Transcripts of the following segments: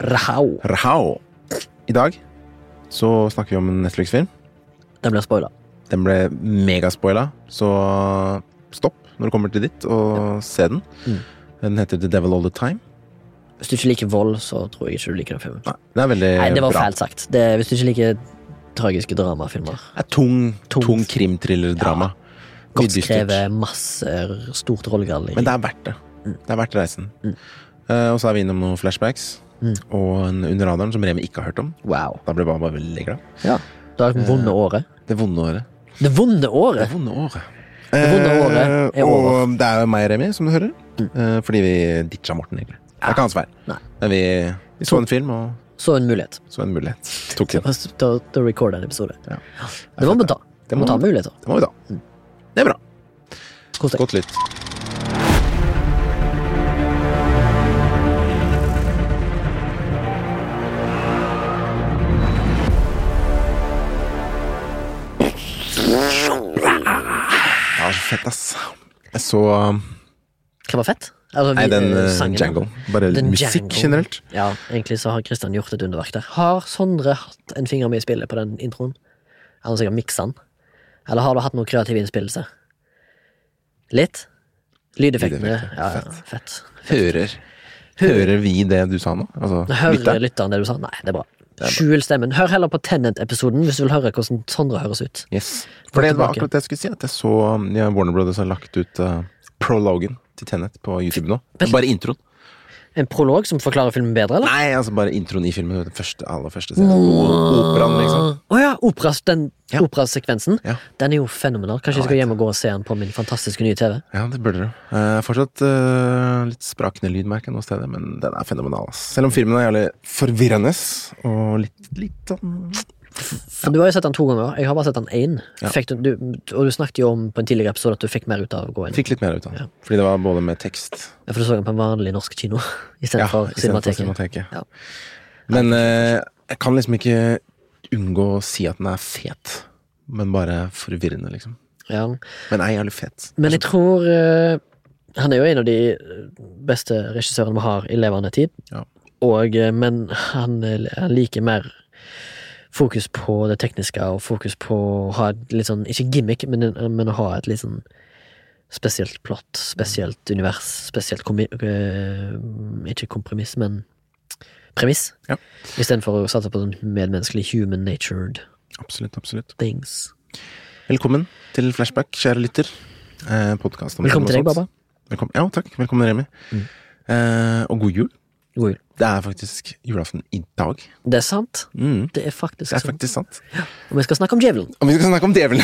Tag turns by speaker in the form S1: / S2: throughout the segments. S1: Rahau.
S2: Rahau. I dag så snakker vi om en Netflix-film.
S1: Den ble spoila.
S2: Den ble megaspoila, så stopp når du kommer til dit, og se den.
S1: Mm.
S2: Den heter The Devil All The Time.
S1: Hvis du ikke liker vold, så tror jeg ikke du liker den filmen.
S2: Nei, den er veldig
S1: Nei, det var
S2: bra.
S1: fælt sagt. Det, hvis du ikke liker tragiske dramafilmer.
S2: Det er tung,
S1: Tung.
S2: tung, krimthriller-drama. Mye
S1: Godt
S2: dystert.
S1: skrevet, masse r- stort rollegalleri.
S2: Men det er verdt det. Det er verdt reisen.
S1: Mm.
S2: Eh, og så er vi innom noen flashbacks
S1: Mm.
S2: og en Under radaren som Remi ikke har hørt om.
S1: Wow.
S2: Da ble jeg bare, bare veldig glad.
S1: Ja. Du har det vonde
S2: Eh.
S1: året.
S2: Det vonde året.
S1: Det vonde
S2: Det
S1: året!
S2: vonde året.
S1: vonde året er
S2: Eh,
S1: over.
S2: Og det er jo meg og Remi, som du hører. Eh, fordi vi ditcha Morten, egentlig. Det er ikke hans feil.
S1: Nei.
S2: Men vi, vi så en film og
S1: Så en mulighet
S2: så en mulighet. Tok
S1: til
S2: den.
S1: å- til å- til å recorde en episode.
S2: Ja.
S1: Det må vi ta.
S2: Det
S1: må
S2: må
S1: ta
S2: man.
S1: muligheter.
S2: Det må vi ta. Det er bra.
S1: Kos deg.
S2: Godt lytt. Det var så fett, ass. Jeg så um,
S1: Hva var fett? Altså,
S2: Nei,
S1: vi-
S2: den
S1: eh,
S2: eh,
S1: sangen, da.
S2: Django. Bare
S1: Den
S2: musikk
S1: Django.
S2: generelt.
S1: Ja, egentlig så har Kristian gjort et underverk der. Har Sondre hatt en finger med i spillet på den introen? Han har sikkert miksa den. Eller har du hatt noe kreativ innspillelse? Litt? Lydeffektene.
S2: Lydeffekter.
S1: Ja, ja, fett.
S2: Hører. Hører vi det du sa nå? Altså,
S1: Hører
S2: lytter?
S1: lytteren det du sa? Nei, det er bra. Skjul stemmen. Hør heller på Tenant-episoden hvis du vil høre hvordan Sondre høres ut.
S2: Yes. For det var
S1: tilbake.
S2: akkurat det jeg skulle si. At jeg så um, ja, Warner Brothers har lagt ut uh, prologen til Tenet på YouTube nå.
S1: Vent.
S2: Bare introen.
S1: En prolog som forklarer filmen bedre, eller?
S2: Nei, altså bare introen i filmen. Den første, aller første scenen. Operaen, liksom.
S1: Å ja, operas, den
S2: Ja.
S1: operasekvensen.
S2: Ja.
S1: Den er jo fenomenal. Kanskje jeg skal
S2: vet
S1: hjem og gå og se den på min fantastiske nye TV.
S2: Ja, det burde du. Eh, fortsatt eh, litt sprakende lydmerke noe sted, men den er fenomenal. Ass. Selv om filmen er jævlig forvirrende og litt, litt sånn
S1: For Du har jo sett den to ganger. Jeg har bare sett den én.
S2: Ja.
S1: Fikk du- du- Og du snakket jo om på en tidligere episode at du fikk mer ut av å gå inn.
S2: Fikk litt mer ut av den. Fordi det var både med tekst
S1: Ja, For du så den på en vanlig norsk kino
S2: ja,
S1: istedenfor
S2: i
S1: ja,
S2: stedet for
S1: Cinemateket.
S2: Cinemateket.
S1: Ja.
S2: Men eh, jeg kan liksom ikke unngå å si at den er fet, men bare forvirrende, liksom.
S1: Ja.
S2: Men er jævlig fet.
S1: Men jeg tror eh, Han er jo en av de eh, beste regissørene vi har i levende tid.
S2: Ja.
S1: Og, eh, men han, eh, han liker mer fokus på det tekniske og fokus på å ha et litt sånn Ikke gimmick, men, en- men å ha et litt sånn spesielt plott, spesielt univers, spesielt kommi, eh, Ikke kompromiss, men premiss.
S2: Ja.
S1: Istedenfor å satse på sånn medmenneskelig human natured
S2: Absolutt, absolutt.
S1: things.
S2: Velkommen til Flashback, kjære lytter. Eh, podcast om
S1: Velkommen til
S2: film
S1: deg,
S2: og
S1: Baba. Mm.
S2: sånt. Velkommen. Ja, takk. Velkommen, Remi. Eh, og god jul.
S1: God jul.
S2: Det er faktisk julaften i dag.
S1: Det er sant.
S2: Mm.
S1: Det er faktisk
S2: Det er
S1: sånn.
S2: faktisk sant.
S1: Og vi skal snakke om djevelen.
S2: Og vi skal snakke om djevelen.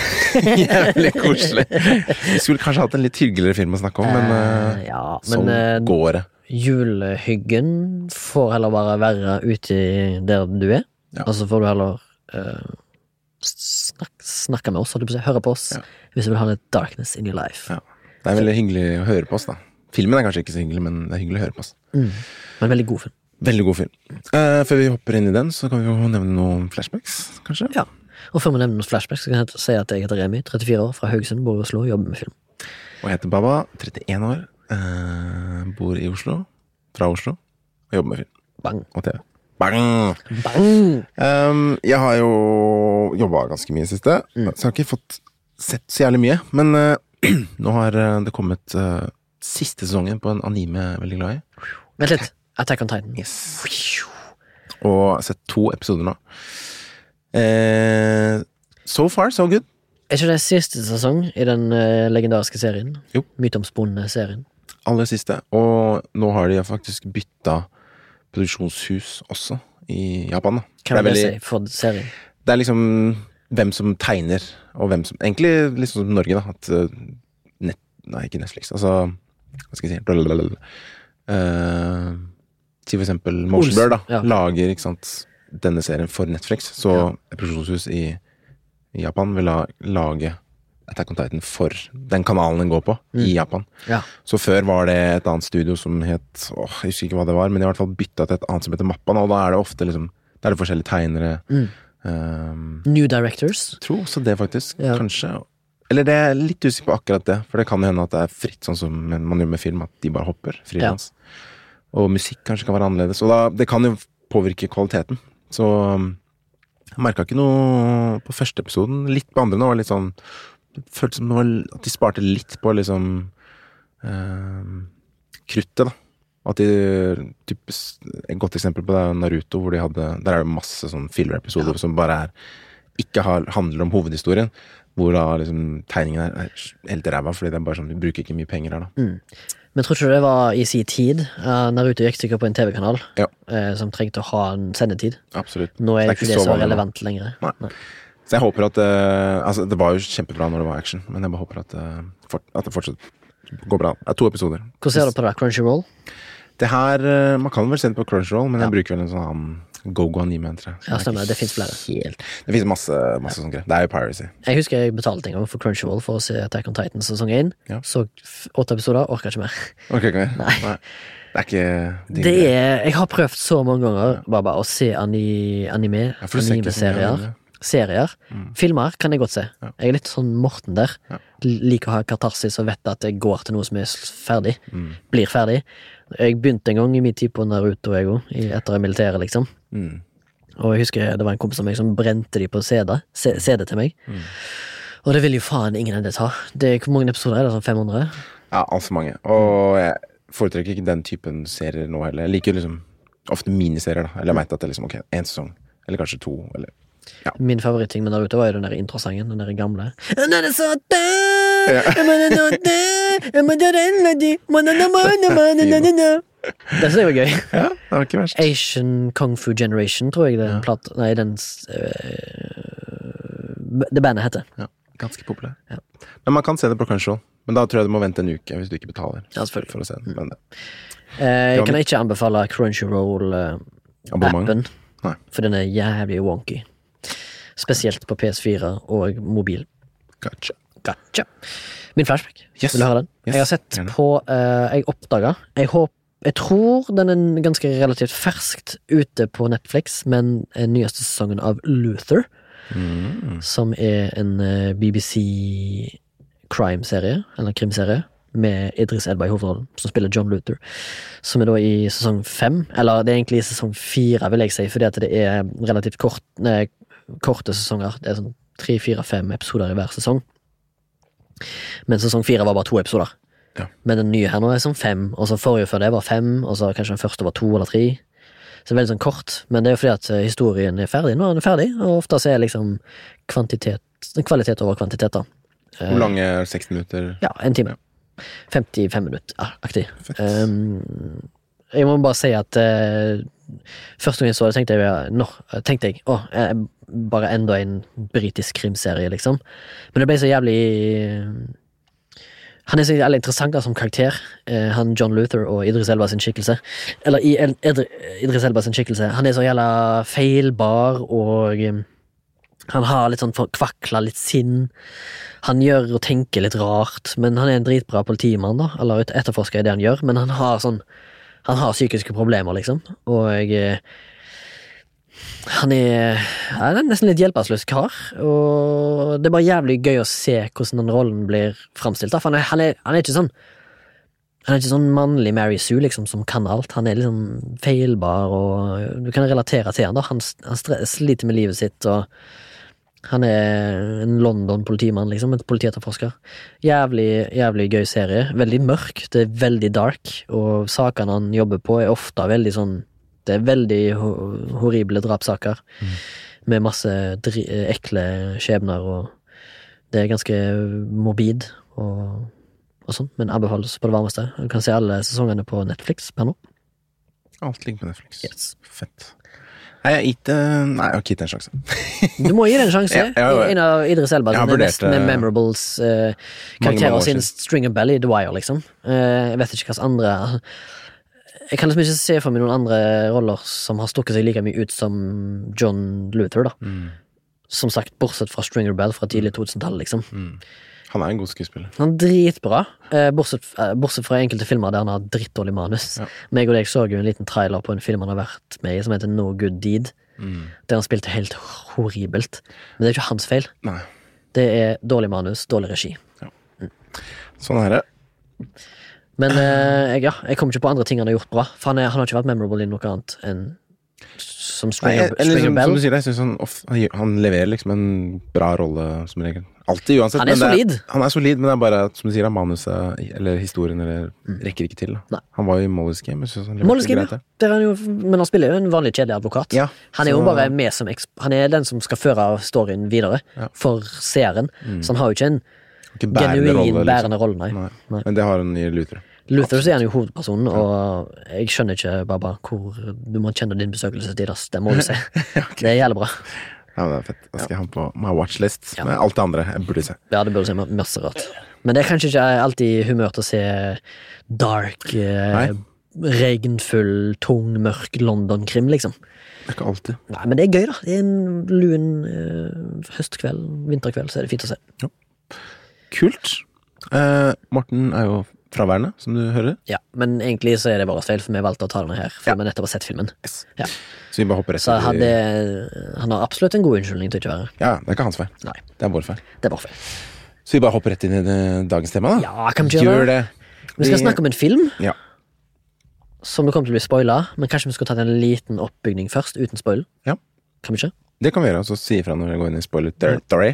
S2: Jævlig koselig. Vi skulle kanskje hatt en litt hyggeligere film å snakke om, men eh,
S1: Eh, ja, men
S2: sånn
S1: eh,
S2: går det.
S1: julehyggen får heller bare være ute i der du er.
S2: Ja.
S1: Og så får du heller eh, snak, snakke med oss, holdt jeg på å si. Høre på oss.
S2: Ja.
S1: Hvis du vil ha litt darkness in your life.
S2: Ja. Det er veldig hyggelig å høre på oss, da. Filmen er kanskje ikke så hyggelig, men det er hyggelig å høre på oss.
S1: Mm. Men veldig god film.
S2: Veldig god film. Eh, før vi hopper inn i den, så kan vi jo nevne noen flashbacks, kanskje?
S1: Ja. Og før vi nevner noen flashback, så kan jeg si at jeg heter Remi, 34 år, fra Haugesund, bor i Oslo, jobber med film.
S2: Og jeg heter Baba, 31 år, eh, bor i Oslo, fra Oslo, og jobber med film
S1: Bang.
S2: og TV. Bang!
S1: Bang!
S2: Ehm, jeg har jo jobba ganske mye i det siste, så jeg har ikke fått sett så jævlig mye. Men eh, nå har eh, det kommet eh, siste sesongen på en anime jeg er veldig glad i.
S1: Vent litt. Attack on Titan.
S2: Yes. Og sett to episoder nå. Eh, so far, so good.
S1: Er ikke det siste sesong i den eh, legendariske serien?
S2: Jo.
S1: Myteomspunne serien.
S2: Aller siste. Og nå har de faktisk bytta produksjonshus også, i Japan. Da.
S1: Hva
S2: Det er
S1: vil det
S2: veldig-
S1: si for serien?
S2: det er liksom hvem som tegner, og hvem som Egentlig litt sånn som Norge, da. At eh, nett, Nei, ikke Netflix. Altså, hva skal jeg si Blablabla. Eh, Si for eksempel Motion
S1: Olsen,
S2: Blur, da.
S1: ja.
S2: Lager ikke sant, denne serien for Netflix. Så
S1: Ja.
S2: et produksjonshus i, i Japan vil la, lage Attack on Titan for den kanalen den går på, i Japan.
S1: Mm. Ja.
S2: Så før var det et annet studio som het åh, Jeg husker ikke hva det var, men de har i hvert fall bytta til et annet som heter Mappan, og da er det ofte liksom Da er det forskjellige tegnere.
S1: Mm.
S2: Um,
S1: New Directors.
S2: jeg tror også det, faktisk.
S1: Ja.
S2: Kanskje. Eller det er litt usikker på akkurat det, for det kan jo hende at det er fritt, sånn som man gjør med film, at de bare hopper frilans. Og musikk kanskje kan være annerledes. Og da, det kan jo påvirke kvaliteten. Så um, jeg merka ikke noe på første episoden. Litt på andre nå. var det Litt sånn, det føltes som det var, at de sparte litt på liksom um, kruttet, da. At de, typisk, Et godt eksempel på det er Naruto, hvor de hadde Der er det masse sånn fillerepisoder som bare er ikke har, handler om hovedhistorien. Hvor da liksom tegningen er, er helt ræva, fordi det er bare sånn, du bruker ikke mye penger her, da.
S1: Mm. Men tror ikke du det var i sin tid? Eh, Naruto gikk sikkert på en TV-kanal
S2: Ja.
S1: eh, som trengte å ha en sendetid.
S2: Absolutt.
S1: Nå er
S2: Det er
S1: det ikke
S2: ikke
S1: det
S2: så
S1: så
S2: vanlig nå.
S1: relevant lenger.
S2: Nei. Så jeg håper at eh, Altså, det var jo kjempebra når det var action, men jeg bare håper at, eh, fort, at det fortsatt går bra. Det er to episoder.
S1: Hvordan ser du på det? Crunchyroll?
S2: Det her eh, Man kan vel se det på Crunchyroll, men jeg bruker vel en sånn annen Gogo anime, tror jeg. Så
S1: Ja,
S2: jeg er
S1: stemmer.
S2: ikke
S1: Det finnes flere.
S2: Helt. Det fins masse, masse sånne greier. Det er jo piracy.
S1: Jeg husker jeg betalte en gang for Crunchyroll for å se Attack on Titan sesong 1.
S2: Ja.
S1: Så f- åtte episoder, orka ikke mer.
S2: Orker ikke mer?
S1: Nei.
S2: Det er ikke
S1: Det er, jeg har prøvd så mange ganger bare, bare å se ani, anime,
S2: Ja, for du ser ikke så mye
S1: animeserier.
S2: anime. Mm.
S1: Serier. Filmer kan jeg godt se.
S2: Ja.
S1: Jeg er litt sånn Morten der.
S2: Ja.
S1: Liker å ha katarsis og vet at jeg går til noe som er s- ferdig.
S2: Mm.
S1: Blir ferdig. Jeg begynte en gang i min tid på Naruto, jeg òg, i- etter militæret, liksom.
S2: Mm.
S1: Og jeg husker det var en kompis av meg som brente de på CD, C- CD til meg.
S2: Mm.
S1: Og det vil jo faen ingen ende ta. Det, hvor mange episoder er det? Sånn 500?
S2: Ja, altfor mange. Og jeg foretrekker ikke den typen serier nå heller. Jeg liker liksom ofte miniserier, da. Eller jeg veit at det er liksom ok, én sesong. Eller kanskje to. Eller
S1: Min favoritting med Naruto var jo den der introsangen, den der gamle. Det synes jeg var gøy.
S2: Ja, det var ikke verst.
S1: Asian Kung Fu Generation, tror jeg den plat... Nei, den s- øh, Det bandet heter.
S2: Ja, ganske populær.
S1: Ja.
S2: Men man kan se det på Crunchyroll. Men da tror jeg du må vente en uke hvis du ikke betaler.
S1: Ja, selvfølgelig.
S2: For å se den. Men
S1: Eh,
S2: Ja,
S1: Jeg kan
S2: men-
S1: ikke anbefale Crunchyroll-appen,
S2: abonnement Nei.
S1: for den er jævlig wonky. Spesielt på PS4 og mobil.
S2: Gotcha.
S1: Gotcha. Min flashback.
S2: Yes.
S1: Vil du høre den?
S2: Yes,
S1: Jeg har sett
S2: gjerne.
S1: på eh, Jeg oppdaga jeg, håp- jeg tror den er ganske relativt ferskt ute på Netflix, men eh, nyeste sesongen av Luther,
S2: Mm.
S1: som er en eh, BBC crime-serie, eller krimserie, med Idris Elba i hovedrollen, som spiller John Luther, som er da i sesong fem, eller det er egentlig i sesong fire, vil jeg si, fordi at det er relativt kort, nei, korte sesonger. Det er sånn tre, fire, fem episoder i hver sesong. Men sesong fire var bare to episoder.
S2: Ja.
S1: Men den nye her nå er sånn fem, og så forrige før det var fem, og så kanskje den første var to eller tre. Så veldig sånn kort, men det er jo fordi at eh, historien er ferdig når den er ferdig, og ofte så er liksom kvantitet, kvalitet over kvantitet, da. Eh,
S2: Hvor lange er 60 minutter?
S1: Ja, en time.
S2: Ja.
S1: 55 minutter, ja, aktig.
S2: Fett.
S1: Um, jeg må bare si at eh, første gang jeg så det, tenkte jeg, ja, nå, tenkte jeg å, eh, bare enda en britisk krimserie, liksom. Men det ble så jævlig Han er så jævlig interessant da, som karakter, eh, han John Luther og Idris Elba sin skikkelse. Eller i El Edri- Idris Elba sin skikkelse. Han er så jævla feilbar og eh, han har litt sånn kvakla litt sinn. Han gjør og tenker litt rart, men han er en dritbra politimann, da. Eller et- etterforsker i det han gjør, men han har sånn Han har psykiske problemer, liksom. Og eh, han er, ja, han er nesten litt hjelpeløs kar, og det er bare jævlig gøy å se hvordan den rollen blir framstilt. da, For han er, han, er, han er ikke sånn Han er ikke sånn mannlig Mary Sue liksom, som kan alt. Han er liksom feilbar, og du kan relatere til han da. Han, s- han stre- sliter med livet sitt, og han er en London-politimann, liksom. En politietterforsker. Jævlig, jævlig gøy serie. Veldig mørk. Det er veldig dark, og sakene han jobber på, er ofte veldig sånn Det er veldig ho- horrible drapssaker med masse dri ekle skjebner, og det er ganske morbid og, og sånn, men anbefales på det varmeste. Du kan se alle sesongene på Netflix per nå.
S2: Alt ligger på Netflix.
S1: Yes.
S2: Fett. Nei, jeg har ikke Nei, jeg har ikke gitt det en sjanse.
S1: Du må gi det en sjanse.
S2: Ja, ja, ja.
S1: En av Idris Elba
S2: Jeg har
S1: sine
S2: vurdert
S1: mest
S2: det
S1: memorables eh,
S2: mange
S1: karakterer
S2: år
S1: sin
S2: siden.
S1: String of Belly, The Wire, liksom. Eh, jeg vet ikke hvilke andre Jeg kan liksom ikke se for meg noen andre roller som har stukket seg like mye ut som John Luther, da.
S2: Mm.
S1: Som sagt, bortsett fra Stringer Bell fra tidlig 2000-tall, liksom.
S2: Han er en god skuespiller.
S1: Han er dritbra, eh, bortsett, eh, bortsett fra enkelte filmer der han har drittdårlig manus.
S2: Ja.
S1: Meg og deg så jo en liten trailer på en film han har vært med i, som heter No Good Deed.
S2: Mm.
S1: Der han spilte helt horribelt. Men det er ikke hans feil.
S2: Nei.
S1: Det er dårlig manus, dårlig regi.
S2: Sånn er det.
S1: Men eh, jeg, ja, jeg kommer ikke på andre ting han har gjort bra, for han, er, han har ikke vært memorable i noe annet enn som
S2: Nei,
S1: Springer,
S2: eller
S1: Springer
S2: som, som
S1: Bell.
S2: du sier, jeg synes han, of- han, gjør- han leverer liksom en bra rolle, som regel. Alltid, uansett.
S1: Han er
S2: men det
S1: solid.
S2: Han er solid, men det er bare at, som du sier, at manuset eller historien eller, rekker ikke til.
S1: Mm. Nei.
S2: Da. Han var jo i Molly's Game. Jeg synes han leverte
S1: Molly's Game,
S2: greit,
S1: ja.
S2: det.
S1: Der er han jo, men han spiller jo en vanlig kjedelig advokat.
S2: Ja,
S1: han er jo
S2: så-
S1: bare med som eks- Han er den som skal føre storyen videre
S2: Ja.
S1: for seeren, så han har jo ikke en
S2: Ikke bærende
S1: genuin
S2: rolle, liksom.
S1: bærende rolle, nei.
S2: Nei.
S1: Nei.
S2: Men det har han i Luther.
S1: Luther så er han jo hovedpersonen, og jeg skjønner ikke, Baba, hvor du må kjenne din besøkelsestid, ass. Det må du se. Det er jævlig bra.
S2: Ja, men det er fett. Da skal jeg ha den på my watchlist med alt det andre jeg burde se.
S1: Ja, det burde se ma- masse rart. Men det er kanskje ikke alltid humør til å se dark, eh,
S2: Nei.
S1: regnfull, tung, mørk London-krim, liksom.
S2: Det er ikke alltid.
S1: Nei, men det er gøy, da. Det er en lun eh, høstkveld, vinterkveld, så er det fint å se.
S2: Kult. Eh, Morten er jo fraværende, som du hører.
S1: Ja, Men egentlig så er det vår feil, for vi valgte å ta denne her, for
S2: Ja.
S1: vi nettopp har sett filmen. Ja.
S2: Så vi bare hopper rett
S1: Så
S2: i-
S1: hadde, han har absolutt en god unnskyldning til å ikke være her.
S2: Ja, det er ikke hans feil.
S1: Nei,
S2: Det er vår feil.
S1: det er vår feil.
S2: Så vi bare hopper rett inn i det- dagens tema, da?
S1: Ja, kan vi ikke gjøre det? Vi skal snakke om en film
S2: Ah, Ja.
S1: som det kommer til å bli spoila, men kanskje vi skulle tatt en liten oppbygning først, uten spoil.
S2: Ja.
S1: Kan vi ikke?
S2: Det kan vi gjøre, og så si ifra når vi går inn i spoiler territory.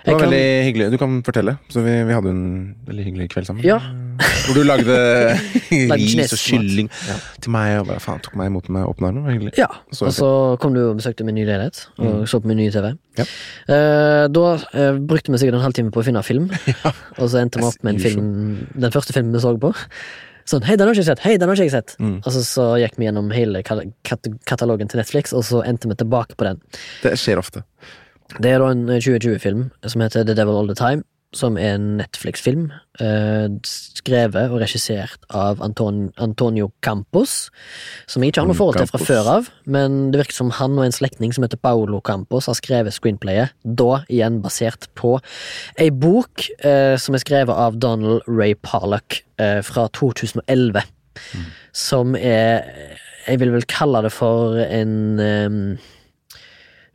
S2: Det
S1: Jeg
S2: var
S1: kan-
S2: veldig hyggelig. Du kan fortelle. Så vi, vi hadde en veldig hyggelig kveld sammen.
S1: Ja.
S2: Hvor du lagde ris
S1: kinesisk mat.
S2: og kylling til meg, og bare faen tok meg imot med åpne armer. Det var hyggelig.
S1: Ja,
S2: Så
S1: og så kom du og besøkte min nye leilighet, og så på min nye TV.
S2: Ja.
S1: Eh, da eh, brukte vi sikkert en halvtime på å finne film, og så endte vi opp med en
S2: As usual.
S1: film, den første filmen vi så på. Sånn, hei, den har ikke jeg sett, hei, den har ikke jeg sett.
S2: Mm.
S1: Og så, så gikk vi gjennom hele kal- kat katalogen til Netflix, og så endte vi tilbake på den.
S2: Det skjer ofte.
S1: Det er da en 2020-film som heter The Devil All The Time, som er en Netflix-film, eh, skrevet og regissert av Anton Antonio Campos, som jeg ikke har noe forhold til fra
S2: Campos.
S1: før av, men det virker som han og en slektning som heter Paolo Campos har skrevet screenplayet, da igjen basert på ei bok eh, som er skrevet av Donald Ray Parlock eh, fra 2011, som er Jeg vil vel kalle det for en eh,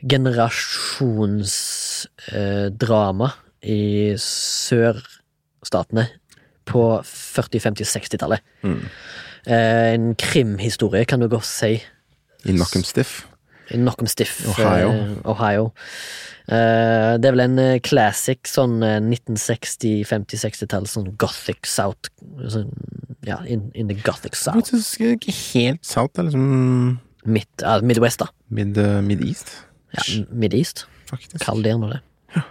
S1: generasjonsdrama eh, i sørstatene på 40-, 50-, 60-tallet. Eh, en krimhistorie, kan du godt si.
S2: I Knockem Stiff.
S1: Knock 'em stiff.
S2: Ohio.
S1: eh, Ohio. Eh, det er vel en eh, classic sånn eh, 1960-, 50-, 60-tall, sånn gothic south sånn, Ja, in, in the gothic south.
S2: Faktisk ikke helt salt. Det er liksom
S1: Mid, ja, Midwest, da.
S2: mid, eh, mid-east,
S1: Ja, Mid-East.
S2: faktisk.
S1: Kall det gjerne det. Eh,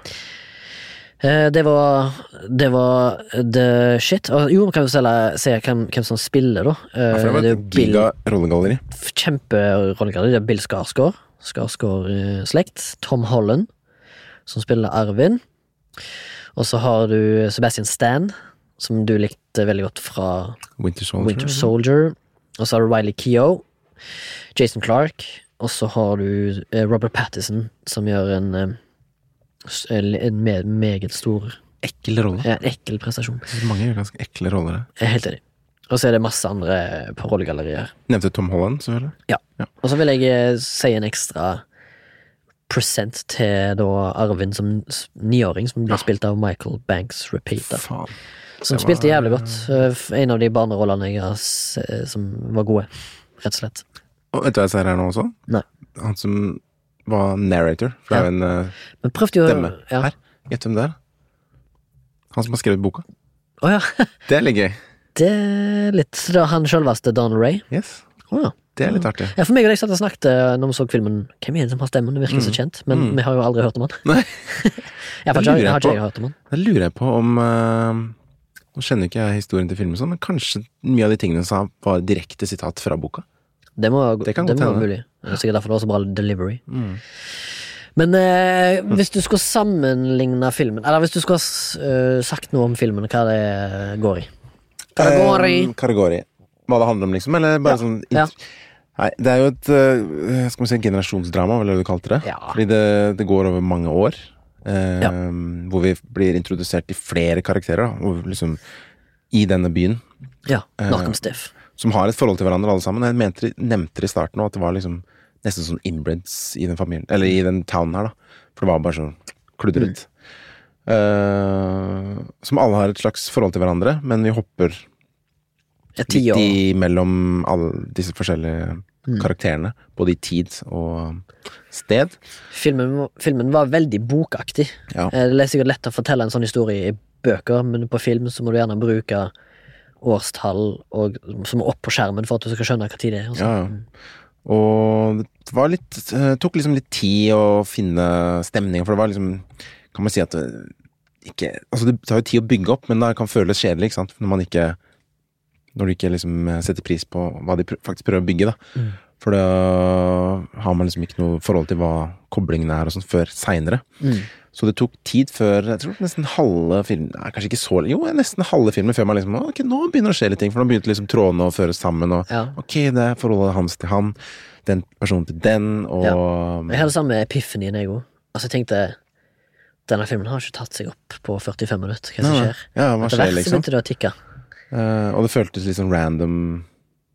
S1: Det var Det var the shit. Og jo, vi kan jo selv se hvem, hvem som spiller, da. Eh,
S2: Ja, for det var
S1: er
S2: et giga rollegalleri.
S1: kjemperollegalleri. Det er Bill Skarsgård. Skarsgård-slekt. Tom Holland, som spiller Arvin. Og så har du Sebastian Stan, som du likte veldig godt fra
S2: Winter Soldier.
S1: Winter Soldier. Og så har du Riley Keough. Jason Clark. Og så har du eh, Robert Pattison, som gjør en, eh, s- en en me- meget stor,
S2: Ekkel rolle.
S1: ja, en ekkel prestasjon.
S2: Mange gjør ganske ekle roller. her.
S1: Jeg er helt enig. Og så er det masse andre på rollegallerier.
S2: Nevnte Tom Holland, selvfølgelig.
S1: Og så vil jeg eh, si en ekstra present til da Arvin som s- niåring, som blir spilt av Michael Banks Repeater.
S2: Faen.
S1: Som
S2: Det var-
S1: spilte jævlig godt. Eh, f- En av de barnerollene jeg har s- eh, som var gode, rett og slett.
S2: Og vet du hva jeg ser her nå også?
S1: Nei.
S2: Han som var narrator. For det er jo en eh,
S1: Men prøvde jo
S2: stemme
S1: ja.
S2: her. Gjett hvem det er. Han som har skrevet boka.
S1: Å ja.
S2: Det er litt gøy.
S1: Det er litt så da Han selveste Don Ray.
S2: Yes.
S1: Å ja.
S2: Det er litt artig.
S1: ja, for meg og deg satt og snakket eh, når vi så filmen. Hvem er det som har stemmen? Det virker så kjent, men vi har jo aldri hørt om han.
S2: Mm.
S1: Jeg
S2: Nei.
S1: har
S2: Det lurer
S1: ikke,
S2: jeg
S1: har ikke
S2: på.
S1: jeg hørt om han.
S2: Da lurer jeg på om eh, Nå kjenner ikke jeg historien til filmen, sånn, men kanskje mye av de tingene han sa, var direkte sitat fra boka.
S1: Det må, det
S2: Det kan
S1: må
S2: godt
S1: være
S2: hende. Mm.
S1: mulig. Det er sikkert derfor det var så bra delivery. Men eh, hvis du skulle sammenligne filmen Eller hvis du skulle ha s- eh, sagt noe om filmen, hva det går i? Hva det går i?
S2: Eh, Karagori. Hva det handler om, liksom? Eller bare
S1: Ja,
S2: sånn
S1: ja.
S2: Nei, det er jo et eh, skal man si, generasjonsdrama, eller hva du kalte det.
S1: Ja.
S2: Fordi det, det går over mange år. eh,
S1: Ja.
S2: Hvor vi blir introdusert til flere karakterer da, og liksom, i denne byen.
S1: Ja,
S2: Eh,
S1: Malcolm Stiff.
S2: Som har et forhold til hverandre, alle sammen. Jeg mente, nevnte det i starten også, at det var liksom nesten sånn inbreds i den familien Eller i den townen her, da. For det var bare sånn
S1: Mm.
S2: kludret. Eh, som alle har et slags forhold til hverandre, men vi hopper
S1: Et
S2: litt
S1: tiår.
S2: i mellom alle disse forskjellige karakterene, både i tid og sted.
S1: Filmen, filmen var veldig bokaktig.
S2: Ja.
S1: Eh, Det er sikkert lett å fortelle en sånn historie i bøker, men på film så må du gjerne bruke årstall og, som er opp på skjermen for at du skal skjønne hva tid det er. og sånn.
S2: Ja, ja. Og det var litt, eh, tok liksom litt tid å finne stemningen, for det var liksom Kan man si at det ikke Altså, det tar jo tid å bygge opp, men det kan føles kjedelig, ikke sant, når man ikke Når du ikke liksom setter pris på hva de pr- faktisk prøver å bygge, da.
S1: Mm.
S2: For da har man liksom ikke noe forhold til hva koblingen er og sånn før seinere.
S1: Mm.
S2: Så det tok tid før jeg tror nesten halve filmen Nei, kanskje ikke så Jo, nesten halve filmen før man liksom Ok, nå begynner det å skje litt ting, for nå begynte liksom trådene å føres sammen, og
S1: Ja.
S2: Ok, det er forholdet hans til han, den personen til den, og
S1: Jeg hadde samme epifanien, jeg òg. Altså, jeg tenkte denne filmen har ikke tatt seg opp på 45 minutter. Hva som
S2: Nei, nei.
S1: skjer?
S2: Ja,
S1: Etter
S2: hva skjer,
S1: hvert så
S2: liksom?
S1: begynte det å tikke.
S2: Eh, og det føltes litt sånn random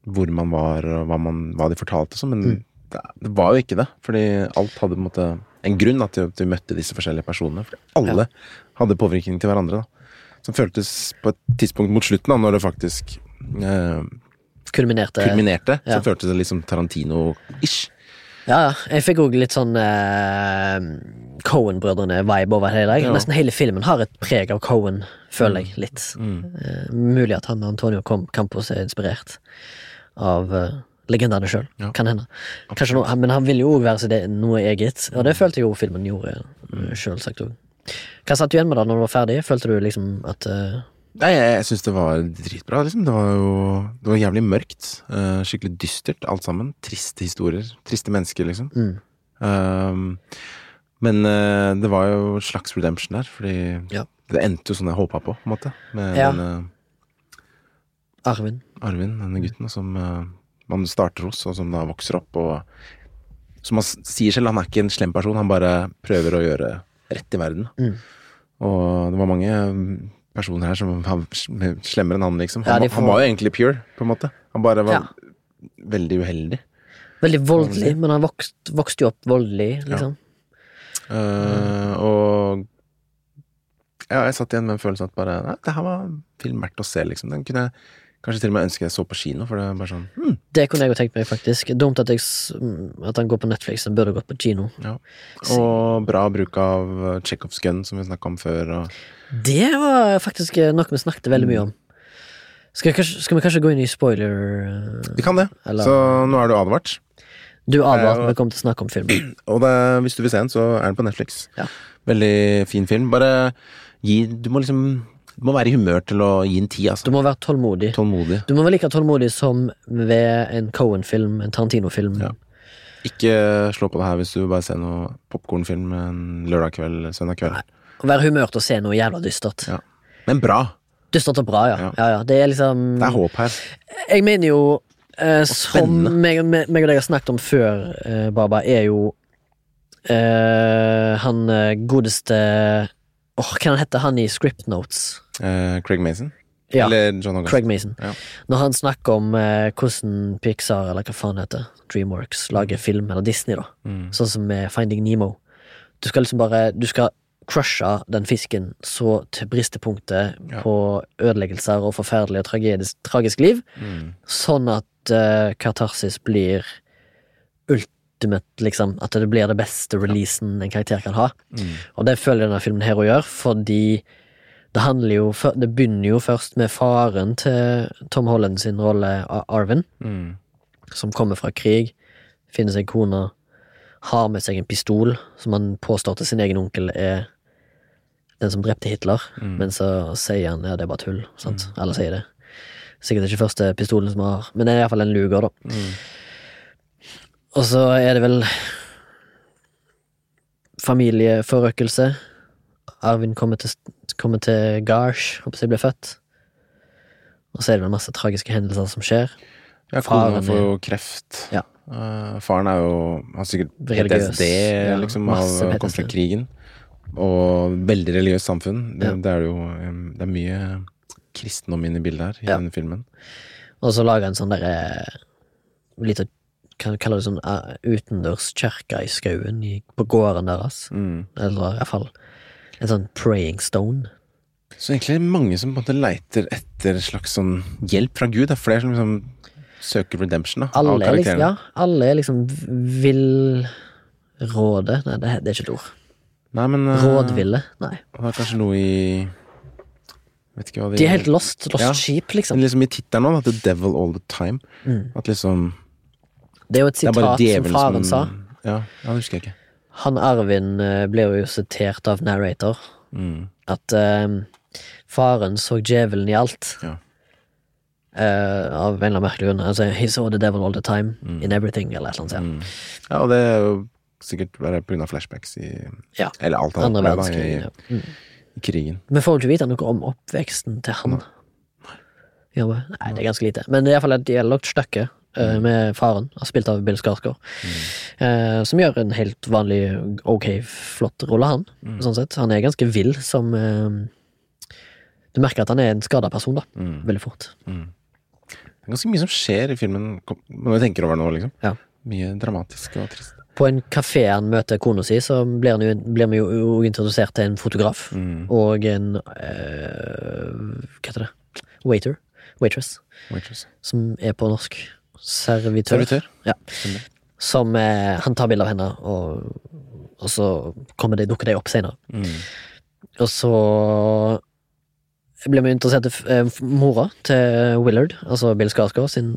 S2: hvor man var, og hva, man, hva de fortalte og sånn, men det, det var jo ikke det. Fordi alt hadde på en måte en grunn da, til at vi møtte disse forskjellige personene. Fordi alle hadde påvirkning til hverandre, da. Som føltes på et tidspunkt mot slutten, da, når det faktisk eh,
S1: Kulminerte.
S2: kulminerte.
S1: ja.
S2: Så føltes det litt som Tarantino-ish.
S1: Ja, ja. Jeg fikk òg litt sånn eh, Cohen-brødrene-vibe over hele dag.
S2: Ja. Mm.
S1: Nesten hele filmen har et preg av Cohen, føler jeg, litt. Eh, mulig at han Antonio Com- Campos er inspirert av eh, legendene sjøl.
S2: Ja.
S1: Kan hende. Kanskje noe, men han ville jo òg være så det, noe eget, og det følte jeg jo filmen gjorde,
S2: Mm.
S1: eh, sjølsagt òg. Hva satt du igjen med da når du var ferdig? Følte du liksom at eh,
S2: Nei, jeg, jeg syns det var dritbra, liksom. Det var jo det var jævlig mørkt. eh, skikkelig dystert, alt sammen. Triste historier. Triste mennesker, liksom.
S1: Mm.
S2: Um, men eh, det var jo et slags redemption der, fordi
S1: Ja.
S2: det endte jo sånn jeg håpa på, på en måte. Med
S1: Ja.
S2: denne
S1: Arvin
S2: Arvin, denne gutten, som eh, man starter hos, og som da vokser opp, og som han s- sier selv, han er ikke en slem person, han bare prøver å gjøre rett i verden.
S1: Mm.
S2: Og det var mange mm, personer her som var sl- slemmere enn han, liksom.
S1: Ja,
S2: Han,
S1: de
S2: var- han
S1: får-
S2: var jo egentlig pure, på en måte. Han bare var
S1: Ja.
S2: veldig uheldig.
S1: Veldig voldelig, men han vokste, vokste jo opp voldelig, liksom.
S2: Eh, Og ja, jeg satt igjen med en følelse at bare Nei, det her var film verdt å se, liksom. Den kunne jeg kanskje til og med ønske jeg så på kino, for det er bare sånn hmm,
S1: Det kunne jeg jo tenkt meg, faktisk. Dumt at, jeg, s- mm, at han går på Netflix, han burde gått på kino.
S2: ja. Og bra bruk av eh, Chekhovs gun, som vi snakka om før. Og,
S1: Det var faktisk eh, noe vi snakket veldig mye om. Skal, vi kanskje, skal vi kanskje gå inn i spoiler eh,
S2: vi kan det.
S1: Eller-
S2: Så nå er du advart.
S1: Du advarte
S2: Eh,
S1: vi kom til å snakke om filmen.
S2: Og det, hvis du vil se den, så er den på Netflix.
S1: Ja.
S2: Veldig fin film. Bare gi Du må liksom Du må være i humør til å gi en ti,
S1: Du
S2: altså.
S1: må være tålmodig.
S2: Tålmodig.
S1: Du må være like tålmodig som ved en Cohen-film, en Tarantino-film.
S2: Ja. Ikke slå på det her hvis du vil bare ser noe popkornfilm en lørdag kveld, eller søndag kveld.
S1: Å Være humør til å se noe jævla dystert.
S2: Ja. Men bra!
S1: Dystert og bra, ja.
S2: Ja.
S1: ja, ja. Det er liksom
S2: Det er håp her.
S1: Jeg mener jo, eh, som
S2: spennende.
S1: meg, meg meg og deg har snakket om før, eh, Baba, er jo eh, han eh, godeste Åh, hva han heter han i Script Notes?
S2: Eh, Craig Mason?
S1: Ja,
S2: Eller John August?
S1: Craig Mason.
S2: Ja.
S1: Når han snakker om eh, hvordan Pixar, eller hva faen det heter, Dreamworks, lager film, eller Disney, da.
S2: Mm.
S1: Sånn som med Finding Nemo. Du skal liksom bare Du skal crushe den fisken så til bristepunktet
S2: Ja.
S1: på ødeleggelser og forferdelig og tragedisk, tragisk liv.
S2: Mm.
S1: Sånn at eh, katarsis blir ultimate, liksom. At det blir det beste releasen en karakter kan ha.
S2: Mm.
S1: Og det føler denne filmen her å gjøre, fordi det handler jo før- Det begynner jo først med faren til Tom Holland sin rolle, Ar- Arvin,
S2: Mm.
S1: som kommer fra krig, finner seg kone, har med seg en pistol som han påstår til sin egen onkel er den som drepte Hitler,
S2: Mm.
S1: men så sier han ja, det er bare tull. Sant? Alle sier det. Sikkert ikke første pistolen som har Men det er iallfall en luger, da.
S2: Mm.
S1: Og så er det vel familieforøkelse. Arvin kommer til, kommer til Garsh, håper jeg blir født. Og så er det vel masse tragiske hendelser som skjer.
S2: Ja,
S1: Faren
S2: kona får
S1: er-
S2: jo kreft.
S1: Ja.
S2: Eh, faren er jo har sikkert
S1: Religiøs.
S2: PTSD,
S1: Ja,
S2: liksom,
S1: masse
S2: av, kom fra
S1: PTSD.
S2: krigen. Og veldig religiøst samfunn. Det,
S1: Ja.
S2: det er jo eh, Det er mye kristendom inne i bildet her, i
S1: Ja.
S2: denne filmen.
S1: Og så lager en sånn derre lite Kan kalle det sånn eh, utendørskirke i skauen, i- på gården deres.
S2: Mm.
S1: Eller iallfall en sånn praying stone.
S2: Så egentlig er det mange som på en måte leiter etter slags sånn hjelp fra Gud. Det er flere som liksom søker redemption da, av
S1: Alle er liksom,
S2: karakterene.
S1: ja, alle er liksom villråde Nei, det, det er ikke et ord.
S2: Nei, men eh,
S1: Rådville. Nei.
S2: Det er kanskje noe i Vet ikke hva det
S1: De er helt lost. Lost
S2: Ja.
S1: sheep,
S2: Men
S1: liksom.
S2: liksom i tittelen nå, da, The Devil All The Time.
S1: Mm.
S2: At liksom
S1: Det er jo et
S2: Det er bare
S1: sitat som
S2: djevelen Mm.
S1: faren sa.
S2: Ja, ja, det husker jeg ikke.
S1: Han Arvin eh, blir jo sitert av narrator.
S2: Mm.
S1: At eh, faren så djevelen i alt.
S2: Ja.
S1: Eh, av en eller annen merkelig grunn. Altså, he saw the devil all the time.
S2: Mm.
S1: In everything, eller et eller annet. sånt.
S2: Mm. ja, og det er jo sikkert bare på grunn av flashbacks i
S1: Ja.
S2: Eller alt annet.
S1: Andre
S2: ja, da,
S1: verdenskrig. Ja.
S2: i, I krigen.
S1: Vi får jo ikke vite noe om oppveksten til han. Ja, men- Nei, det er ganske lite. Men det er iallfall et dialogstykke
S2: Mm.
S1: eh, med faren, altså spilt av Bill Skarsgård, eh, som gjør en helt vanlig, ok, flott rolle, han.
S2: Mm.
S1: Sånn sett. Han er ganske vill som eh, Du merker at han er en skada person, da.
S2: Mm.
S1: Veldig fort.
S2: Det er ganske mye som skjer i filmen kom- når jeg tenker over det nå, liksom.
S1: Ja.
S2: Mye dramatisk og trist.
S1: På en kafé han møter kona si, så blir, han jo, blir vi jo jo introdusert til en fotograf
S2: Mm.
S1: og en eh, Hva heter det? Waiter. Waitress.
S2: Waitress.
S1: som er på norsk. Servitør.
S2: Servitør.
S1: Ja.
S2: Stemmer.
S1: Som eh, han tar bilde av henne, og, og så kommer det, dukker det opp senere.
S2: Mm.
S1: Og så blir vi interessert i f- eh, f- mora til Willard, altså Bill Skarsgård sin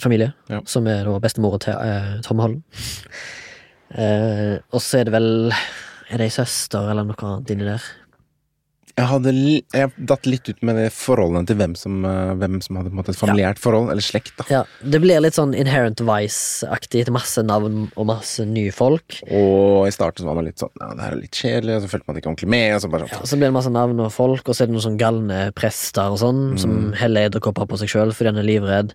S1: familie,
S2: Ja.
S1: som er da bestemora til eh, Tom Holland. Eh, og så er det vel Er det ei søster eller noe annet inni der?
S2: Jeg hadde li- jeg datt litt ut med det forholdene til hvem som, eh, hvem som hadde på en måte, et familiært forhold, eller slekt. da
S1: Ja, Det blir litt sånn Inherent Vice-aktig, til masse navn og masse nye folk.
S2: Og i starten så var man litt sånn Ja, det her er litt kjedelig, og så følte man ikke ordentlig med. Og så bare
S1: Ja,
S2: sånn
S1: og så blir det masse navn og folk, og så er det noen sånn galne prester og sånn, som
S2: Mm.
S1: heller edderkopper på seg sjøl fordi han er livredd.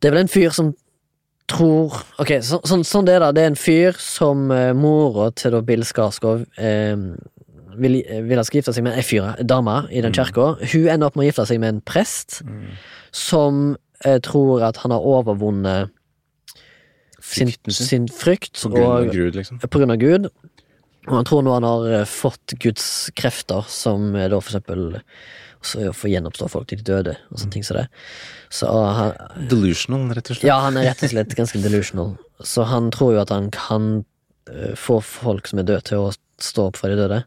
S1: Det er vel en fyr som tror Ok, så, sånn- sånn det er, da. Det er en fyr som eh, mora til da Bill Skarsgård eh, vil, eh, vil han skal gifte seg med ei fyr, ei dame, i den
S2: Mm.
S1: kirka. Hun ender opp med å gifte seg med en prest som eh, tror at han har overvunnet sin,
S2: Frykten sin.
S1: sin frykt,
S2: På grunn av
S1: og
S2: Gud, liksom.
S1: på grunn av Gud. Og han tror nå han har eh, fått Guds krefter, som eh, da for eksempel også er å få gjenoppstå folk til de døde, og sånne ting som det. Så ah, han,
S2: Delusional, rett og slett.
S1: ja, han er rett og slett ganske delusional. Så han tror jo at han kan eh, få folk som er døde, til å stå opp fra de døde.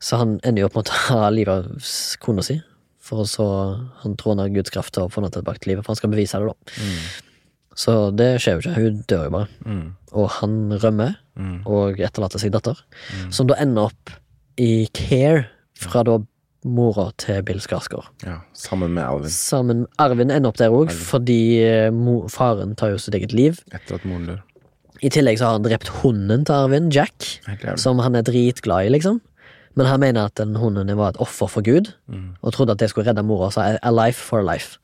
S1: Så han ender jo opp med å ta livet av s- kona si, for å så Han tror han har Guds kraft til å få henne tilbake til livet, for han skal bevise det, da. Så det skjer jo ikke. Hun dør jo bare.
S2: Mm.
S1: Og han rømmer
S2: Mm.
S1: og etterlater seg datter, som da ender opp i care fra da mora til Bill Skarsgård.
S2: ja. Sammen med Alvin,
S1: Sammen Arvin ender opp der òg, fordi eh, mo, faren tar jo sitt eget liv.
S2: etter at moren dør.
S1: I tillegg så har han drept hunden til Arvin, Jack,
S2: Helt jævlig.
S1: som han er dritglad i, liksom. Men han mener at den hunden var et offer for Gud,
S2: Mm.
S1: og trodde at det skulle redde mora. Så a a life for a life.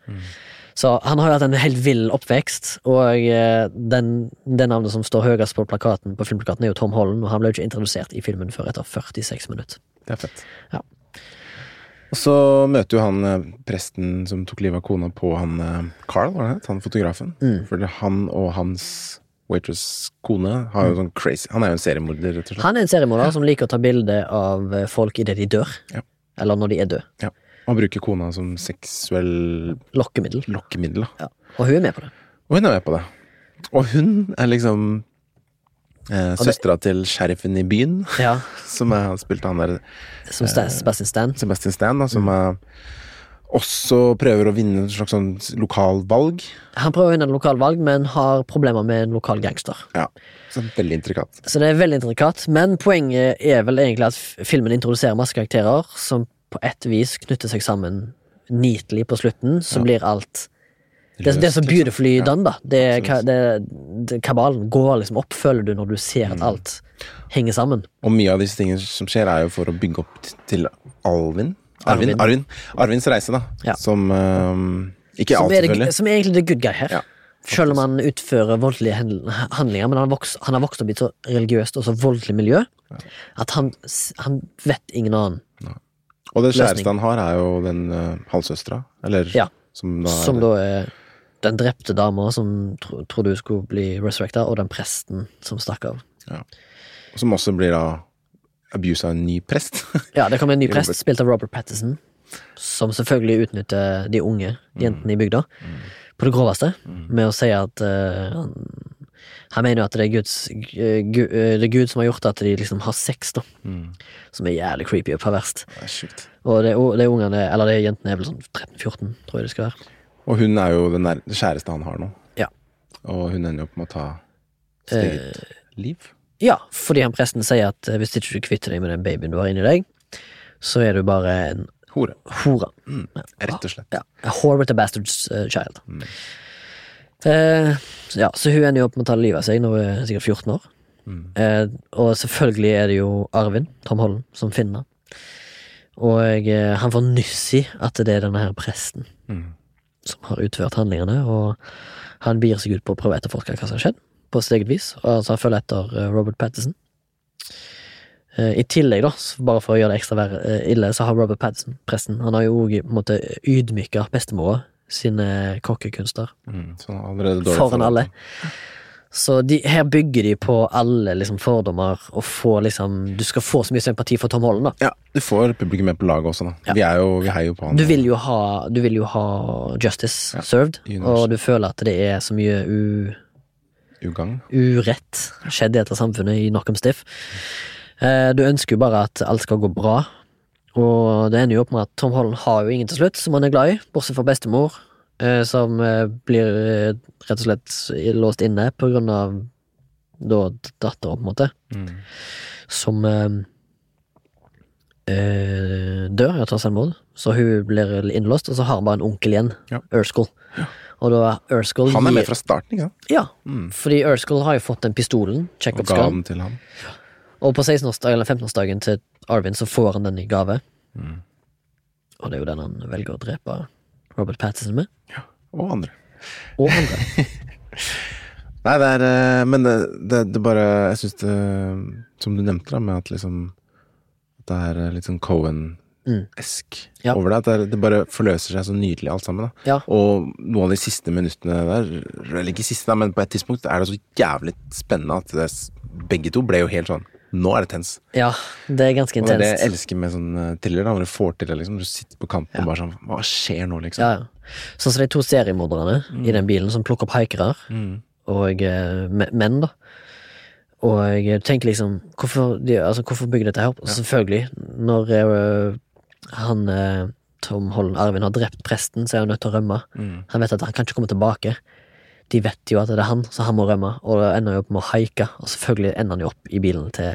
S1: Så han har jo hatt en helt vill oppvekst, og eh, den, det navnet som står høyest på plakaten På filmplakaten er jo Tom Holland, og han ble jo ikke introdusert i filmen før etter 46 minutter.
S2: Det er fett.
S1: Ja.
S2: Og så møter jo han eh, presten som tok livet av kona på han eh, Carl, var det han het? Han fotografen.
S1: Mm.
S2: For det- han og hans waitress kone har jo sånn crazy Han er jo en seriemorder, rett og slett.
S1: Mm. Han er en seriemorder som liker å ta bilde av eh, folk idet de dør,
S2: Ja.
S1: eller når de er døde.
S2: Ja. Han bruker kona som seksuell
S1: Lokkemiddel.
S2: lokkemiddel, da.
S1: Ja. Og hun er med på det.
S2: Og hun er med på det. Og hun er liksom eh, søstera til sheriffen i byen,
S1: Ja,
S2: som er, spilte han der
S1: Som Stan- Sebastian Stan.
S2: Sebastian Stan, da, som er, også prøver å vinne et slags sånn lokalvalg.
S1: Han prøver å vinne en lokalvalg, men har problemer med en lokal gangster.
S2: Ja. Så det er veldig intrikat.
S1: Så det er veldig intrikat, men poenget er vel egentlig at f- filmen introduserer masse karakterer som på et vis knytter seg sammen neatly på slutten, så blir alt Det, det er så
S2: Løst, liksom.
S1: beautifully
S2: Ja.
S1: done, da. Det, er ka-
S2: absolutt.
S1: det, det, kabalen går liksom opp, føler du, når du ser
S2: Mm.
S1: at alt henger sammen.
S2: Og mye av disse tingene som skjer, er jo for å bygge opp t- til Alvin. Arvin.
S1: Arvin.
S2: Arvin. Arvins reise, da.
S1: Ja.
S2: Som eh, Ikke
S1: Som
S2: alt,
S1: er, det,
S2: selvfølgelig.
S1: som er egentlig the good guy her.
S2: Ja,
S1: Selv om han utfører voldelige hen- handlinger, men han, voks, han har vokst opp i et så religiøst og så voldelig miljø at han, s- han vet ingen annen.
S2: Og det
S1: løsning.
S2: kjæresten han har, er jo den uh, halvsøstera. Eller
S1: Ja.
S2: som da er
S1: Som da er den drepte dama som tro, trodde hun skulle bli resurrecta, og den presten som stakk av.
S2: Som også blir da abuse av en ny prest.
S1: Ja, det kom en ny
S2: Robert.
S1: prest, spilt av Robert Patterson, som selvfølgelig utnytter de unge jentene i bygda, på det groveste
S2: Mm.
S1: med å si at eh, han, han mener jo at det er, Guds, eh, Gu- eh, det er Gud som har gjort at de liksom har sex, da.
S2: Mm.
S1: Som er jævlig creepy og perverst.
S2: Det er sjukt.
S1: Og det, og det er ungene, eller det er jentene er vel sånn 13-14, tror jeg det skal være.
S2: Og hun er jo den nær- det kjæreste han har nå.
S1: Ja.
S2: Og hun ender jo opp med å ta sitt eget
S1: Eh,
S2: liv.
S1: Ja, fordi han presten sier at eh, hvis ikke du kvitter deg med den babyen du har inni deg, så er du bare en
S2: Hore.
S1: hore.
S2: Mm, Rett og slett.
S1: Ja, a whore with a bastard's eh, child.
S2: Mm.
S1: Eh, så ja, så hun ender jo opp med å ta livet av seg når hun er sikkert 14 år.
S2: Mm.
S1: Eh, og selvfølgelig er det jo Arvin, Tom Holland, som finner henne. Og eh, han får nyss i at det er denne her presten
S2: Mm.
S1: som har utført handlingene, og han begir seg ut på å prøve å etterforske hva som har skjedd, på sitt eget vis. Og altså, han følger etter eh, Robert Pattinson. Eh, I tillegg, da, så bare for å gjøre det ekstra verre, eh, ille, så har Robert Pattinson, presten, han har jo òg på en måte ydmyka bestemora sine kokkekunster
S2: Mm. Så han er allerede dårlig
S1: foran
S2: forhold.
S1: alle. Så de, her bygger de på alle liksom, fordommer, og får liksom Du skal få så mye sympati for Tom Holland, da.
S2: Ja, du får publikum med på laget også, da.
S1: Ja.
S2: Vi, er jo, vi heier jo på han.
S1: Du vil jo ha, du vil jo ha justice
S2: Ja,
S1: served,
S2: universe.
S1: og du føler at det er så mye u...
S2: Ugagn.
S1: urett skjedde etter samfunnet i Knockham Stiff. Eh, Du ønsker jo bare at alt skal gå bra, og det ender jo opp med at Tom Holland har jo ingen til slutt, som han er glad i, bortsett fra bestemor, eh, som eh, blir eh, rett og slett låst inne på grunn av da dattera, på en måte,
S2: Mm.
S1: som eh, eh, dør etter selvmord. Så hun blir innlåst, og så har han bare en onkel igjen,
S2: Ja.
S1: Erskall. Og da Erskall
S2: Han er med
S1: gir-
S2: fra starten, ikke sant?
S1: Ja,
S2: Mm.
S1: fordi Erskall har jo fått den pistolen,
S2: Og ga
S1: check-up-skallen,
S2: den til ham.
S1: og på 16-årsdagen eller 15-årsdagen til Arvin så får han den i gave.
S2: Mm.
S1: Og det er jo den han velger å drepe Robert Pattinson med.
S2: Og andre.
S1: Og andre.
S2: Nei, det er eh, Men det, det, det bare Jeg syns det Som du nevnte, da, med at liksom At det er eh, litt sånn Cohen-esk
S1: Mm. Ja.
S2: over det. At det, er, det bare forløser seg så nydelig, alt sammen. da
S1: Ja.
S2: Og noen av de siste minuttene der, eller ikke siste, da, men på et tidspunkt er det så jævlig spennende at det, er s- begge to ble jo helt sånn Nå er det tens.
S1: Ja, det er ganske
S2: Og det er det jeg
S1: intenst.
S2: elsker med sånn eh, thriller, da, når du får til det, liksom. Du sitter på kanten og bare sånn Hva skjer nå, liksom?
S1: Ja, ja. Sånn som de to seriemorderne i den bilen som plukker opp haikere,
S2: Mm.
S1: og eh, me- menn, da. Og jeg tenker liksom Hvorfor, de, altså, hvorfor bygger dette her opp? Og Selvfølgelig, når eh, han eh, Tom Holland Arvin har drept presten, så er han nødt til å rømme.
S2: Mm.
S1: Han vet at han kan ikke komme tilbake. De vet jo at det er han, så han må rømme. Og det ender jo opp med å haike, og selvfølgelig ender han jo opp i bilen til,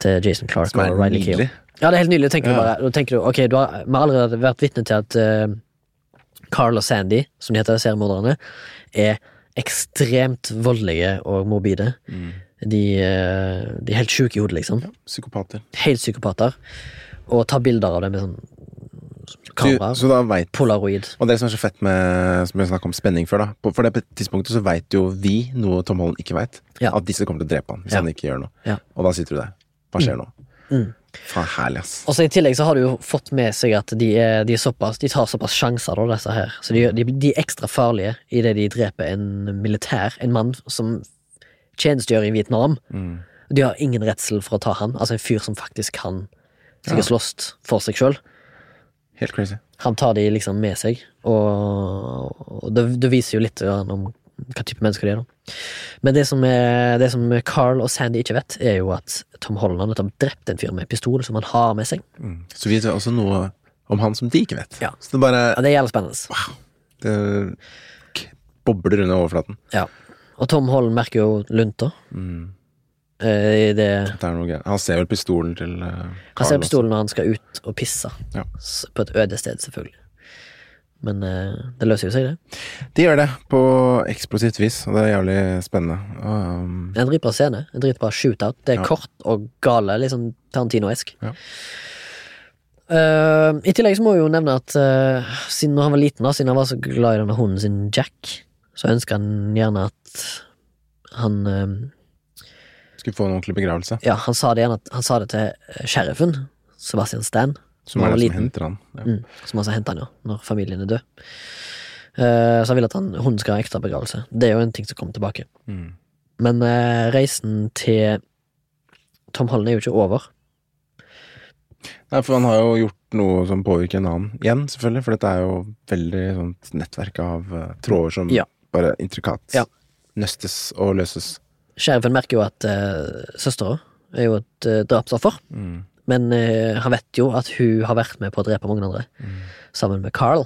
S1: til Jason Clark
S2: Som er
S1: og Riley Keough.
S2: nydelig.
S1: Ja, det er helt nydelig. Tenker
S2: Ja.
S1: du bare, da tenker du, ok, du har, Vi har allerede vært vitne til at eh, Carl og Sandy, som de heter, seriemorderne, er ekstremt voldelige og morbide.
S2: Mm.
S1: De, eh, de er helt sjuke i hodet, liksom.
S2: Psykopater.
S1: Helt psykopater. Og tar bilder av dem med sånn
S2: Du,
S1: kamera.
S2: så da veit
S1: Polaroid.
S2: Og det som er så fett med som jeg snakket om spenning før, da. på- For det på et tidspunktet så veit jo vi noe Tom Holland ikke veit.
S1: Ja.
S2: At disse kommer til å drepe han hvis
S1: Ja.
S2: han ikke gjør noe.
S1: Ja.
S2: Og da sitter du der. Hva skjer nå?
S1: Mm.
S2: Faen, herlig, ass.
S1: Og så I tillegg så har du jo fått med seg at de, er, de, er såpass, de tar såpass sjanser, da, disse her. Så de, de, de er ekstra farlige idet de dreper en militær, en mann som tjenestegjør i Vietnam.
S2: Mm.
S1: De har ingen redsel for å ta han. Altså en fyr som faktisk kan
S2: Ja.
S1: sikkert slåss for seg sjøl.
S2: Helt crazy.
S1: Han tar de liksom med seg, og, og det, det viser jo litt grann om hva type mennesker de er. da. Men det som, er, det som Carl og Sandy ikke vet, er jo at Tom Holland har nettopp drept en fyr med pistol som han har med seg.
S2: Mm. Så vi vet også noe om han som de ikke vet.
S1: Ja.
S2: Så det bare
S1: Ja, Det er jævlig spennende.
S2: det k- bobler under overflaten.
S1: Ja. Og Tom Holland merker jo lunta.
S2: Mm.
S1: eh, i det-
S2: Det er noe gærent. Han ser vel pistolen til eh,
S1: Han ser
S2: Carl
S1: pistolen når han skal ut og pisse.
S2: Ja.
S1: S- På et øde sted, selvfølgelig. Men eh, det løser jo seg, det.
S2: også. De gjør det på eksplosivt vis, og det er jævlig spennende. Og, um,
S1: Det er En dritbra scene. En dritbra shootout. Det er
S2: Ja.
S1: kort og gale. Liksom Tarantino-esk.
S2: Ja.
S1: Eh, I tillegg så må vi jo nevne at eh, siden når han var liten, da, siden han var så glad i denne hunden sin, Jack, så ønska han gjerne at han eh,
S2: skulle få en ordentlig begravelse.
S1: Ja, han sa det, gjerne at, han sa det til eh, sheriffen, Sebastian Stan,
S2: Som
S1: Når
S2: er
S1: han var
S2: det som
S1: liten.
S2: henter han. Ja.
S1: Mm, som altså henter han jo når familien er død. Eh, så han vil at han, hunden skal ha ekstra begravelse. Det er jo en ting som kommer tilbake.
S2: Mm.
S1: Men eh, reisen til Tom Holland er jo ikke over.
S2: Nei, for han har jo gjort noe som påvirker en annen igjen, selvfølgelig. For dette er jo veldig sånt nettverk av eh, tråder som
S1: Ja.
S2: bare intrikat
S1: Ja.
S2: nøstes og løses.
S1: Sheriffen merker jo at uh, søstera er jo et eh, drapsoffer,
S2: Mm.
S1: men eh, han vet jo at hun har vært med på å drepe mange andre,
S2: Mm.
S1: sammen med Carl.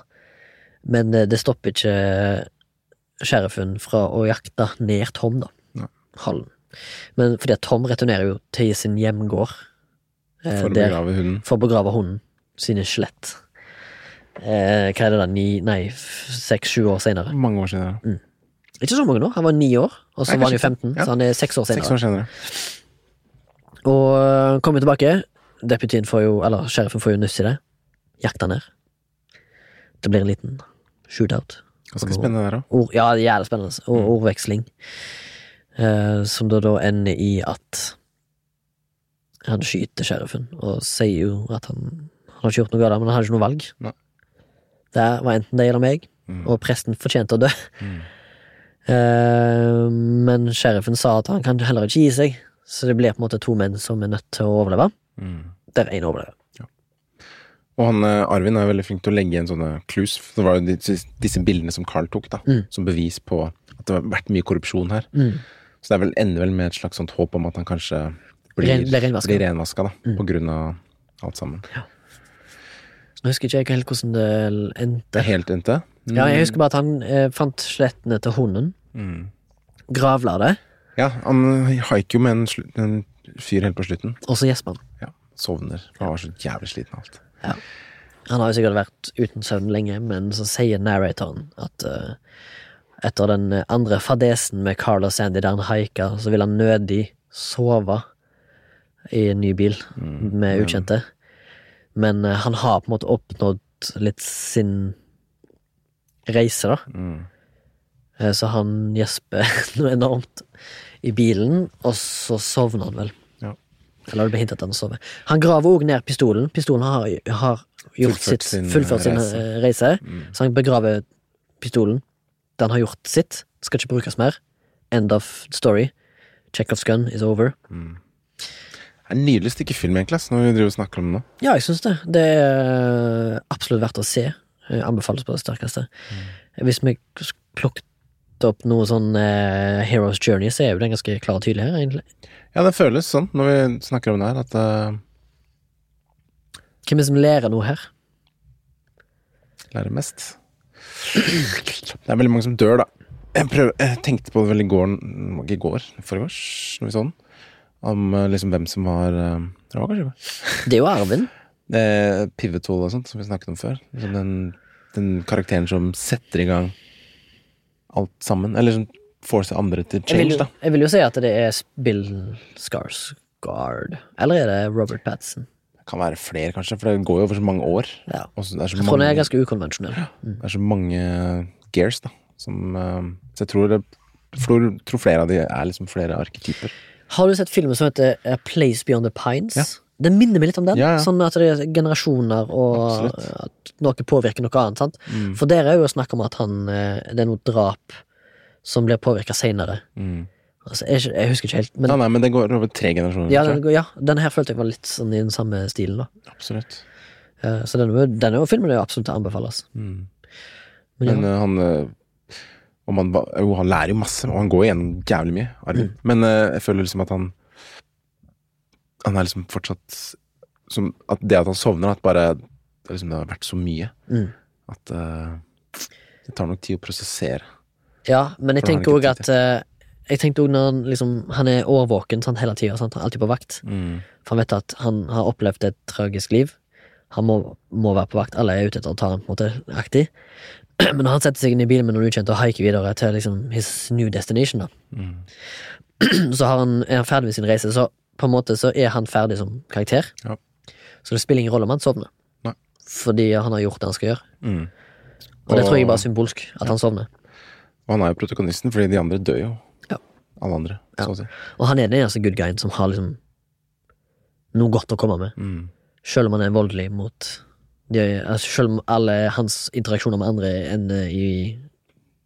S1: Men eh, det stopper ikke sheriffen fra å jakte ned Tom, da.
S2: Nei.
S1: Hallen. Men fordi at Tom returnerer jo til sin hjemgård. eh,
S2: For å
S1: der-
S2: begrave hunden.
S1: for å begrave hunden sine skjelett. Eh, hva er det da, ni, nei, f- seks-sju år senere.
S2: Mange år senere.
S1: Ikke så mange nå, han var ni år, og så
S2: Nei,
S1: var han jo
S2: kanskje
S1: 15,
S2: ja.
S1: så han er seks år
S2: Seks
S1: senere.
S2: år senere.
S1: Og øh, kommer tilbake, deputyen får jo, eller sheriffen får jo nuss i det, jakter ned. Det blir en liten shootout.
S2: Ganske spennende der òg.
S1: Ord, ja, jævlig spennende. Og
S2: Mm.
S1: ordveksling. Eh, som da, da ender i at han skyter sheriffen, og sier jo at han, han har ikke gjort noe galt, men han hadde ikke noe valg.
S2: Nei.
S1: Det var enten det eller meg,
S2: Mm.
S1: og presten fortjente å dø.
S2: Mm.
S1: Eh, men sheriffen sa at han kan heller ikke gi seg, så det blir på en måte to menn som er nødt til å overleve.
S2: Mm.
S1: Der én overlever.
S2: Og han, eh, Arvin er veldig flink til å legge igjen sånne clues. Det var jo de- disse bildene som Carl tok, da,
S1: Mm.
S2: som bevis på at det har vært mye korrupsjon her.
S1: Mm.
S2: Så det er vel, ender vel med et slags sånt håp om at han kanskje blir,
S1: Ren- blir renvasket. Mm.
S2: blir renvaska, da, på grunn av alt sammen.
S1: Jeg husker ikke helt hvordan det endte.
S2: Det er helt endte. Mm.
S1: Ja, jeg husker bare at han eh, fant skjelettene til hunden,
S2: Mm.
S1: gravla det,
S2: Ja, han haiker jo med en, slu- en fyr helt på slutten.
S1: og så gjespa han.
S2: Ja, Sovner. for Han var så jævlig sliten av alt.
S1: Han har jo sikkert vært uten søvn lenge, men så sier narratoren at eh, etter den andre fadesen med Carl og Sandy der han haika, så vil han nødig sove i en ny bil med ukjente. Men eh, han har på en måte oppnådd litt sin reise, da.
S2: Mm.
S1: Eh, Så han gjesper noe enormt i bilen, og så sovner han vel.
S2: Ja.
S1: Eller det ble hintet at han sover. Han graver òg ned pistolen. Pistolen har, har gjort
S2: Fullført
S1: sitt,
S2: sin
S1: fullført sin
S2: reise.
S1: eh, reise,
S2: Mm.
S1: så han begraver pistolen. Den har gjort sitt, skal ikke brukes mer. End of story. Chekhovs gun is over.
S2: Det er et nydelig stykke film, egentlig, ass, når vi driver og snakker om det nå.
S1: Ja, jeg syns det. Det er eh, absolutt verdt å se. Jeg Anbefales på det sterkeste. Hvis vi plukket opp noe sånn eh, Heroes Journey, så er jo den ganske klar og tydelig her, egentlig.
S2: Ja, det føles sånn når vi snakker om det her, at uh,
S1: Hvem er det som lærer noe her?
S2: lærer mest. Det er veldig mange som dør, da. Jeg, prøver, jeg tenkte på det vel i går, mm, ikke i går, forgårs, når vi så den, om eh, liksom hvem som var eh, Det var kanskje
S1: Det er jo arven.
S2: eh, pivotal og sånt, som vi snakket om før. Liksom den, den karakteren som setter i gang alt sammen. Eller som får seg andre til
S1: Jeg vil,
S2: change,
S1: jo,
S2: da.
S1: jeg vil jo si at det er Bill Skarsgård. Eller er det Robert Patson?
S2: Det kan være flere, kanskje, for det går jo over så mange år.
S1: Ja.
S2: Og så det er så
S1: Jeg tror den
S2: mange,
S1: er ganske ukonvensjonell.
S2: det er så mange eh, gears, da. Som, eh, så jeg tror, det, tror, tror flere av de er liksom flere arketyper.
S1: Har du sett filmen som heter A Place Beyond the Pines?
S2: Ja.
S1: Den minner meg litt om den.
S2: Ja, ja.
S1: Sånn at det er generasjoner, og
S2: Absolutt. Mm.
S1: at noe påvirker noe annet. Sant? For der er jo snakk om at han, eh, det er noe drap som blir påvirka seinere.
S2: Mm.
S1: Altså, jeg, jeg husker ikke helt, men
S2: Ja, nei, men det går over tre generasjoner.
S1: ja,
S2: tror jeg.
S1: den, ja, den her følte jeg var litt sånn i den samme stilen. da
S2: Absolutt.
S1: Eh, Så denne, denne filmen er jo absolutt å anbefales.
S2: Mm.
S1: Men ja.
S2: Men eh, han eh, om han, ba- jo, han lærer jo masse, og han går igjennom jævlig mye. Arvin.
S1: Mm.
S2: Men eh, jeg føler liksom at han Han er liksom fortsatt som, At det at han sovner, at bare det, liksom, det har vært så mye
S1: Mm.
S2: at eh, det tar nok tid å prosessere.
S1: Ja, men jeg
S2: For han
S1: tenker
S2: har
S1: òg
S2: ikke
S1: at eh, Jeg tenkte også når han liksom Han er årvåken sant, hele tida, sant? han er alltid på vakt. For han vet at han har opplevd et tragisk liv. Han må, må være på vakt. Alle er ute etter å ta ham, på en måte, aktig. Men når han setter seg inn i bilen med noen ukjente og haiker videre til liksom his new destination, da.
S2: Mm.
S1: så har han, er han ferdig med sin reise. Så på en måte så er han ferdig som karakter.
S2: Ja.
S1: Så det spiller ingen rolle om han sovner.
S2: Nei.
S1: Fordi han har gjort det han skal gjøre.
S2: Mm.
S1: Og, det
S2: Og-
S1: tror jeg bare er symbolsk, at han sovner.
S2: Og han er jo protagonisten, fordi de andre dør jo.
S1: Ja.
S2: Alle andre, så å si.
S1: Og han er den eneste good guyen som har liksom noe godt å komme med.
S2: Mm.
S1: Selv om han er voldelig mot de, altså Selv om alle hans interaksjoner med andre ender i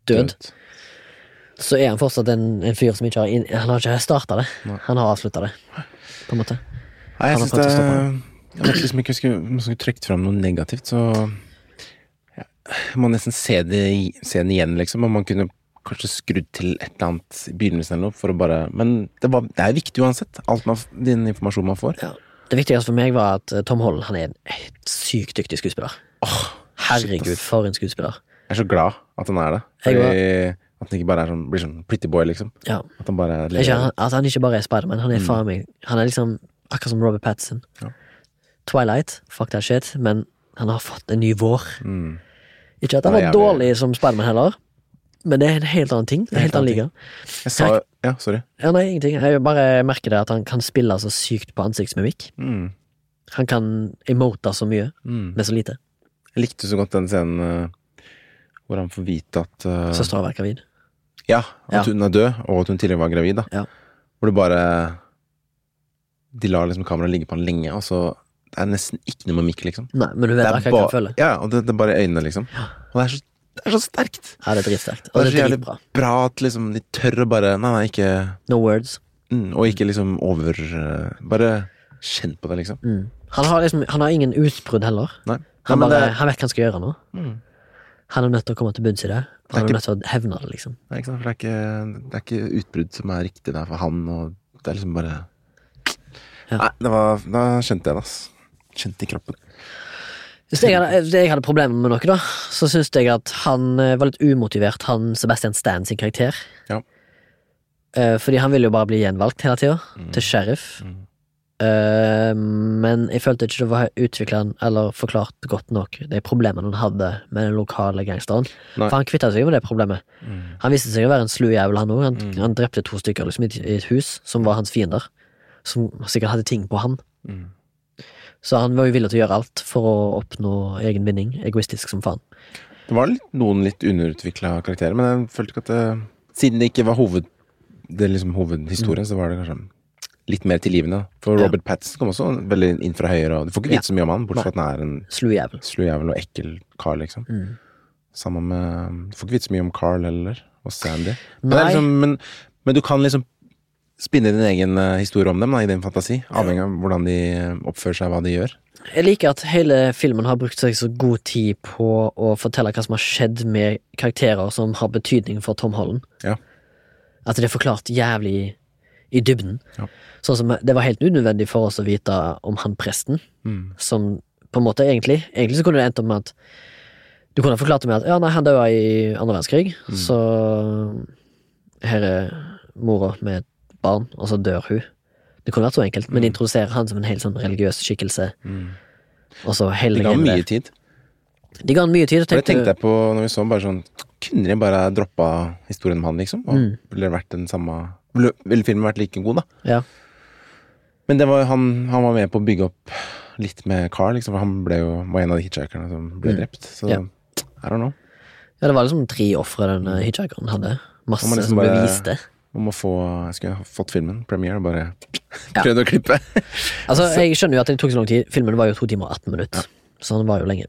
S1: død, så er han fortsatt en, en fyr som ikke har inn, Han har ikke starta det. Han har avslutta det, på en måte.
S2: Nei, jeg
S1: Han har
S2: syns
S1: prøvd å
S2: det
S1: stoppe
S2: er Jeg vet liksom ikke, skulle, man skulle trukket fram noe negativt, så ja, jeg må nesten se, det, i- se den igjen, liksom. Og man kunne kanskje skrudd til et eller annet i begynnelsen eller noe, for å bare Men det, var, det er viktig uansett, alt man, f- den informasjonen man får.
S1: Ja. Det viktigste for meg var at eh, Tom Holland han er en helt sykt dyktig skuespiller.
S2: Åh,
S1: Herregud, for en skuespiller.
S2: jeg er så glad at han er det.
S1: Jeg
S2: Fordi, at han ikke bare er sånn, blir sånn pretty boy, liksom.
S1: Ja.
S2: At han bare er
S1: Ikke, han, altså, han er ikke bare er Spiderman, han er faen meg Han er liksom akkurat som Robert Pattinson.
S2: Ja.
S1: Twilight, fuck that shit, men han har fått en ny vår.
S2: Mm.
S1: Ikke at han
S2: Han
S1: var
S2: er jævlig-
S1: dårlig som Spiderman heller, men det er en helt annen ting. Det er en helt annen liga.
S2: Jeg sa Ja, sorry.
S1: Ja, nei, ingenting. Jeg bare merker det at han kan spille så sykt på ansiktsmimikk.
S2: Mm.
S1: Han kan emote så mye,
S2: Mm.
S1: med så lite.
S2: Jeg likte så godt den scenen eh, hvor han får vite at eh,
S1: Søstera var gravid.
S2: Ja, at
S1: Ja.
S2: hun er død, og at hun tidligere var gravid. da
S1: Ja.
S2: Hvor det bare De lar liksom kameraet ligge på han lenge, og så Det er nesten ikke noe mimikk, liksom.
S1: Nei, men du vet akkurat hva
S2: ba-
S1: han føler.
S2: ja, og det, det er bare øynene, liksom.
S1: Ja.
S2: Og det er, så, det er så sterkt!
S1: Ja, det er dritsterkt.
S2: Det
S1: Og
S2: er
S1: det
S2: så
S1: er
S2: jævlig
S1: dritbra.
S2: bra at liksom de tør å bare Nei, nei, ikke
S1: No words.
S2: mm, Og ikke liksom over eh, Bare kjenn på det, liksom.
S1: Mm. Han, har liksom, han har ingen utbrudd heller.
S2: Nei.
S1: Han,
S2: nei, men
S1: bare,
S2: det,
S1: han vet hva han skal gjøre nå.
S2: mm,
S1: Han er nødt til å komme til bunns i det. Og han
S2: Det er
S1: er nødt til å hevne det, liksom.
S2: nei, ikke sant, for det er ikke, det er ikke utbrudd som er riktig der for han, og det er liksom bare
S1: Ja.
S2: Nei, det var, da skjønte jeg det, ass. Kjente i kroppen.
S1: Hvis jeg hadde, hvis jeg hadde problemer med noe, da, så syns jeg at han eh, var litt umotivert, han Sebastian Stan sin karakter.
S2: Ja.
S1: Eh, fordi han ville jo bare bli gjenvalgt hele tida, til sheriff.
S2: Mm.
S1: Eh, men jeg følte ikke det var utvikla eller forklart godt nok de problemene han hadde med den lokale gangsteren.
S2: Nei.
S1: For han kvitta seg jo med det problemet.
S2: Mm.
S1: Han viste seg å være en slu jævel, han òg. Han,
S2: Mm.
S1: han drepte to stykker liksom, i, i et hus som var hans fiender, som sikkert hadde ting på han.
S2: Mm.
S1: Så han var jo villig til å gjøre alt for å oppnå egen vinning, egoistisk som faen.
S2: Det var litt, noen litt underutvikla karakterer, men jeg følte ikke at det Siden det ikke var hoved, det er liksom hovedhistorien, så var det kanskje litt mer tilgivende. For
S1: Mm. Ja.
S2: Robert Pattinson kom også veldig inn fra høyre, og du får ikke
S1: Ja.
S2: vite så mye om han, bortsett fra at han er en
S1: Slu jævel.
S2: slu jævel og ekkel kar, liksom.
S1: Mm.
S2: Sammen med Du får ikke vite så mye om Carl heller, og Sandy. Men, det
S1: Nei,
S2: er liksom, men, men du kan liksom spinne din egen eh, historie om dem da, i din fantasi, avhengig av hvordan de oppfører seg, hva de gjør.
S1: jeg liker at hele filmen har brukt seg så god tid på å fortelle hva som har skjedd med karakterer som har betydning for Tom Holland.
S2: Ja.
S1: At det er forklart jævlig i dybden.
S2: Ja.
S1: Sånn som Det var helt unødvendig for oss å vite om han presten,
S2: Mm.
S1: som på en måte egentlig Egentlig så kunne det endt opp med at Du kunne ha forklart det med at ja, nei, han døde i andre verdenskrig,
S2: Mm.
S1: så her er mora med et barn, og så dør hun. Det kunne vært så enkelt,
S2: Mm.
S1: men de introduserer han som en helt sånn religiøs skikkelse. Og så hele
S2: De ga
S1: greien
S2: ham
S1: der.
S2: mye tid.
S1: De ga han mye tid. og
S2: For det
S1: tenkte-
S2: tenkte jeg på når vi så den, bare sånn Kunne de bare droppa historien om han, liksom? Og
S1: Mm.
S2: ville det vært den samme Ville ville filmen vært like god, da?
S1: Ja.
S2: Men det var, han, han var med på å bygge opp litt med Carl, liksom. For han ble jo, var en av de hitchhikerne som ble drept. Så
S1: Mm. Ja.
S2: I don't know.
S1: ja, det var liksom tre ofre den eh, hitchhikeren hadde. Masse
S2: Han må liksom
S1: som
S2: bare-
S1: beviste.
S2: Om å få Jeg skulle ha fått filmen, premiere, og bare
S1: Ja.
S2: prøvd å klippe.
S1: Altså, jeg skjønner jo at det tok så lang tid. Filmen var jo to timer og 18 minutter, så den var jo lenge.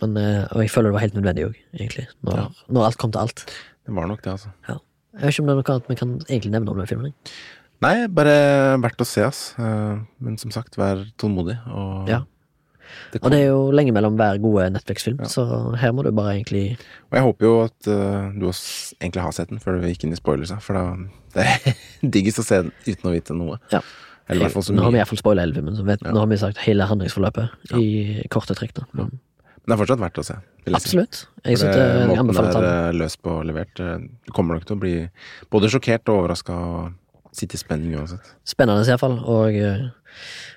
S1: Men, eh, og jeg føler det var helt nødvendig òg, egentlig. Når, når alt kom til alt.
S2: Det var nok det, altså.
S1: Ja. Jeg vet ikke om det er noe annet vi kan egentlig nevne om den filmen. jeg.
S2: Nei, bare verdt å se, ass. Eh, Men som sagt, vær tålmodig, og
S1: Ja.
S2: det
S1: Og
S2: kom-
S1: det er jo lenge mellom hver gode Netflix-film,
S2: Ja.
S1: så her må du bare egentlig
S2: Og jeg håper jo at eh, du også egentlig har sett den før vi gikk inn i spoilers, da, for da det er diggest å se den uten å vite noe.
S1: Ja.
S2: Eller i hvert fall så
S1: Nå har vi
S2: mye.
S1: iallfall spoila hele filmen, så vet, nå har vi sagt hele handlingsforløpet i korte trekk. da. Men,
S2: Men det er fortsatt verdt å se. vil jeg si.
S1: absolutt. Jeg
S2: For
S1: synes
S2: det,
S1: det jeg
S2: måten
S1: anbefaler å ta
S2: det
S1: den.
S2: er eh, løst på og levert, eh, du kommer nok til å bli både sjokkert og overraska og sitte i spenning uansett.
S1: Spennende i hvert fall, og eh,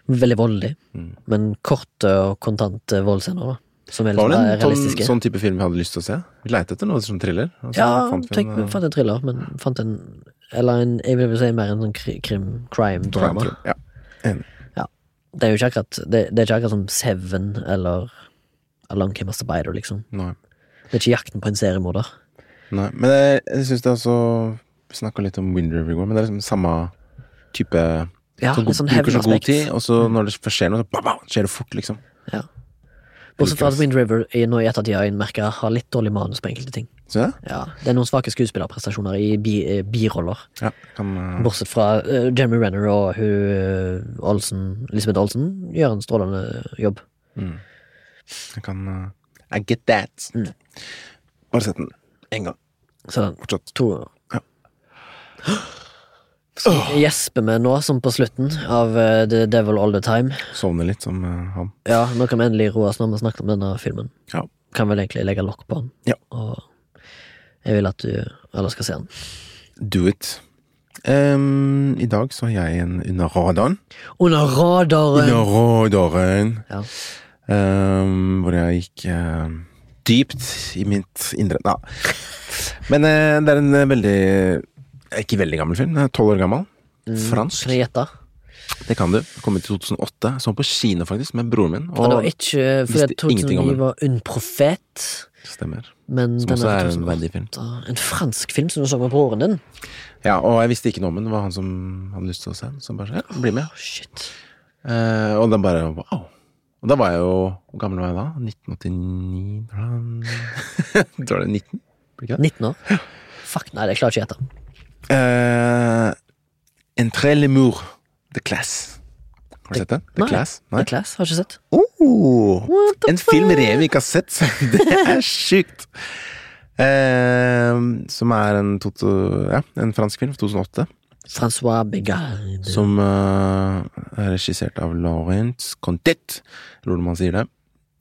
S1: veldig voldelig.
S2: Mm.
S1: Men korte og kontante voldsscener, da. Som er
S2: Det var
S1: liksom
S2: vel
S1: bare
S2: en sånn,
S1: realistiske.
S2: sånn type film vi hadde lyst til å se. Vi leite etter noe som thriller. og så
S1: ja,
S2: fant vi en,
S1: tenk,
S2: eh,
S1: fant en thriller, men fant en Eller en, jeg vil vel si mer en sånn kri- krim, crime, drama.
S2: crime-thriller. Ja. Enig.
S1: Det er jo ikke akkurat Det, det er ikke akkurat som Seven eller Along Came a Spider, liksom.
S2: Nei.
S1: Det er ikke jakten på en seriemorder.
S2: Nei, men jeg, jeg syns det er også Vi snakka litt om Wind River i går, men det er liksom samme type
S1: Ja,
S2: så
S1: litt
S2: god-
S1: sånn
S2: Bruker så god
S1: hevnaspekt. Mm.
S2: tid, og så når det først skjer noe, så bam, bam, skjer det fort, liksom.
S1: Ja. Bortsett fra at
S2: Likes.
S1: Wind River i, nå i ettertid har jeg merket har litt dårlig manus på enkelte ting.
S2: Synes jeg?
S1: Ja, det er noen svake skuespillerprestasjoner i bi, eh, biroller.
S2: Ja, kan, eh,
S1: Bortsett fra uh, Jeremy Renner og hun eh, Olsen, Elisabeth Olsen gjør en strålende jobb.
S2: mm. jeg kan eh, I get that.
S1: Mm.
S2: Bare sett den én gang.
S1: Så
S2: Fortsatt.
S1: to
S2: Ja.
S1: Så Gjesper vi nå, som på slutten av eh, The Devil All The Time.
S2: Sovner litt som eh, han.
S1: Ja, nå kan vi endelig roe oss når vi har snakket om denne filmen.
S2: Ja.
S1: Kan vel egentlig legge lokk på den.
S2: Ja.
S1: Og jeg vil at du alle skal se den.
S2: Do it. Em, I dag så har jeg en under radaren.
S1: Under radaren!
S2: Under radaren.
S1: Ja.
S2: Em, Ehm, hvor jeg gikk em, dypt i mitt indre Nei. Men eh, det er en eh, veldig Ikke veldig gammel film. Tolv år gammel. Fransk.
S1: Kan jeg gjette?
S2: Det kan du. Kom ut i 2008. Så på kino, faktisk, med broren min.
S1: Og det var ikke eh, fordi
S2: visste
S1: jeg tok
S2: ingenting om
S1: som vi
S2: den.
S1: var en profet,
S2: Stemmer.
S1: men
S2: Som
S1: den
S2: også
S1: er
S2: er en
S1: fra
S2: verdig film.
S1: 2008. En fransk film som du så med broren din?
S2: Ja, og jeg visste ikke noe om den. Det var han som hadde lyst til å se den. Som bare sa ja, bli
S1: Å,
S2: med.
S1: Oh, shit.
S2: Eh, og den bare wow. Og da var jeg jo Hvor gammel var jeg da? 1989 da var den- Da var det 19? Blir ikke det?
S1: 19 år? Fuck, nei, det klarer jeg ikke å gjette.
S2: Uh, Entre les murs. The Class. Har du sett den? The
S1: Nei.
S2: Class? Nei.
S1: The Class, har ikke sett.
S2: Oh,
S1: What the
S2: en film Remi ikke har sett! Det er sjukt! Eh, som er en, toto, ja, en fransk film fra 2008.
S1: Francois Begard.
S2: Som eh, er regissert av Laurence Contet, tror man sier det.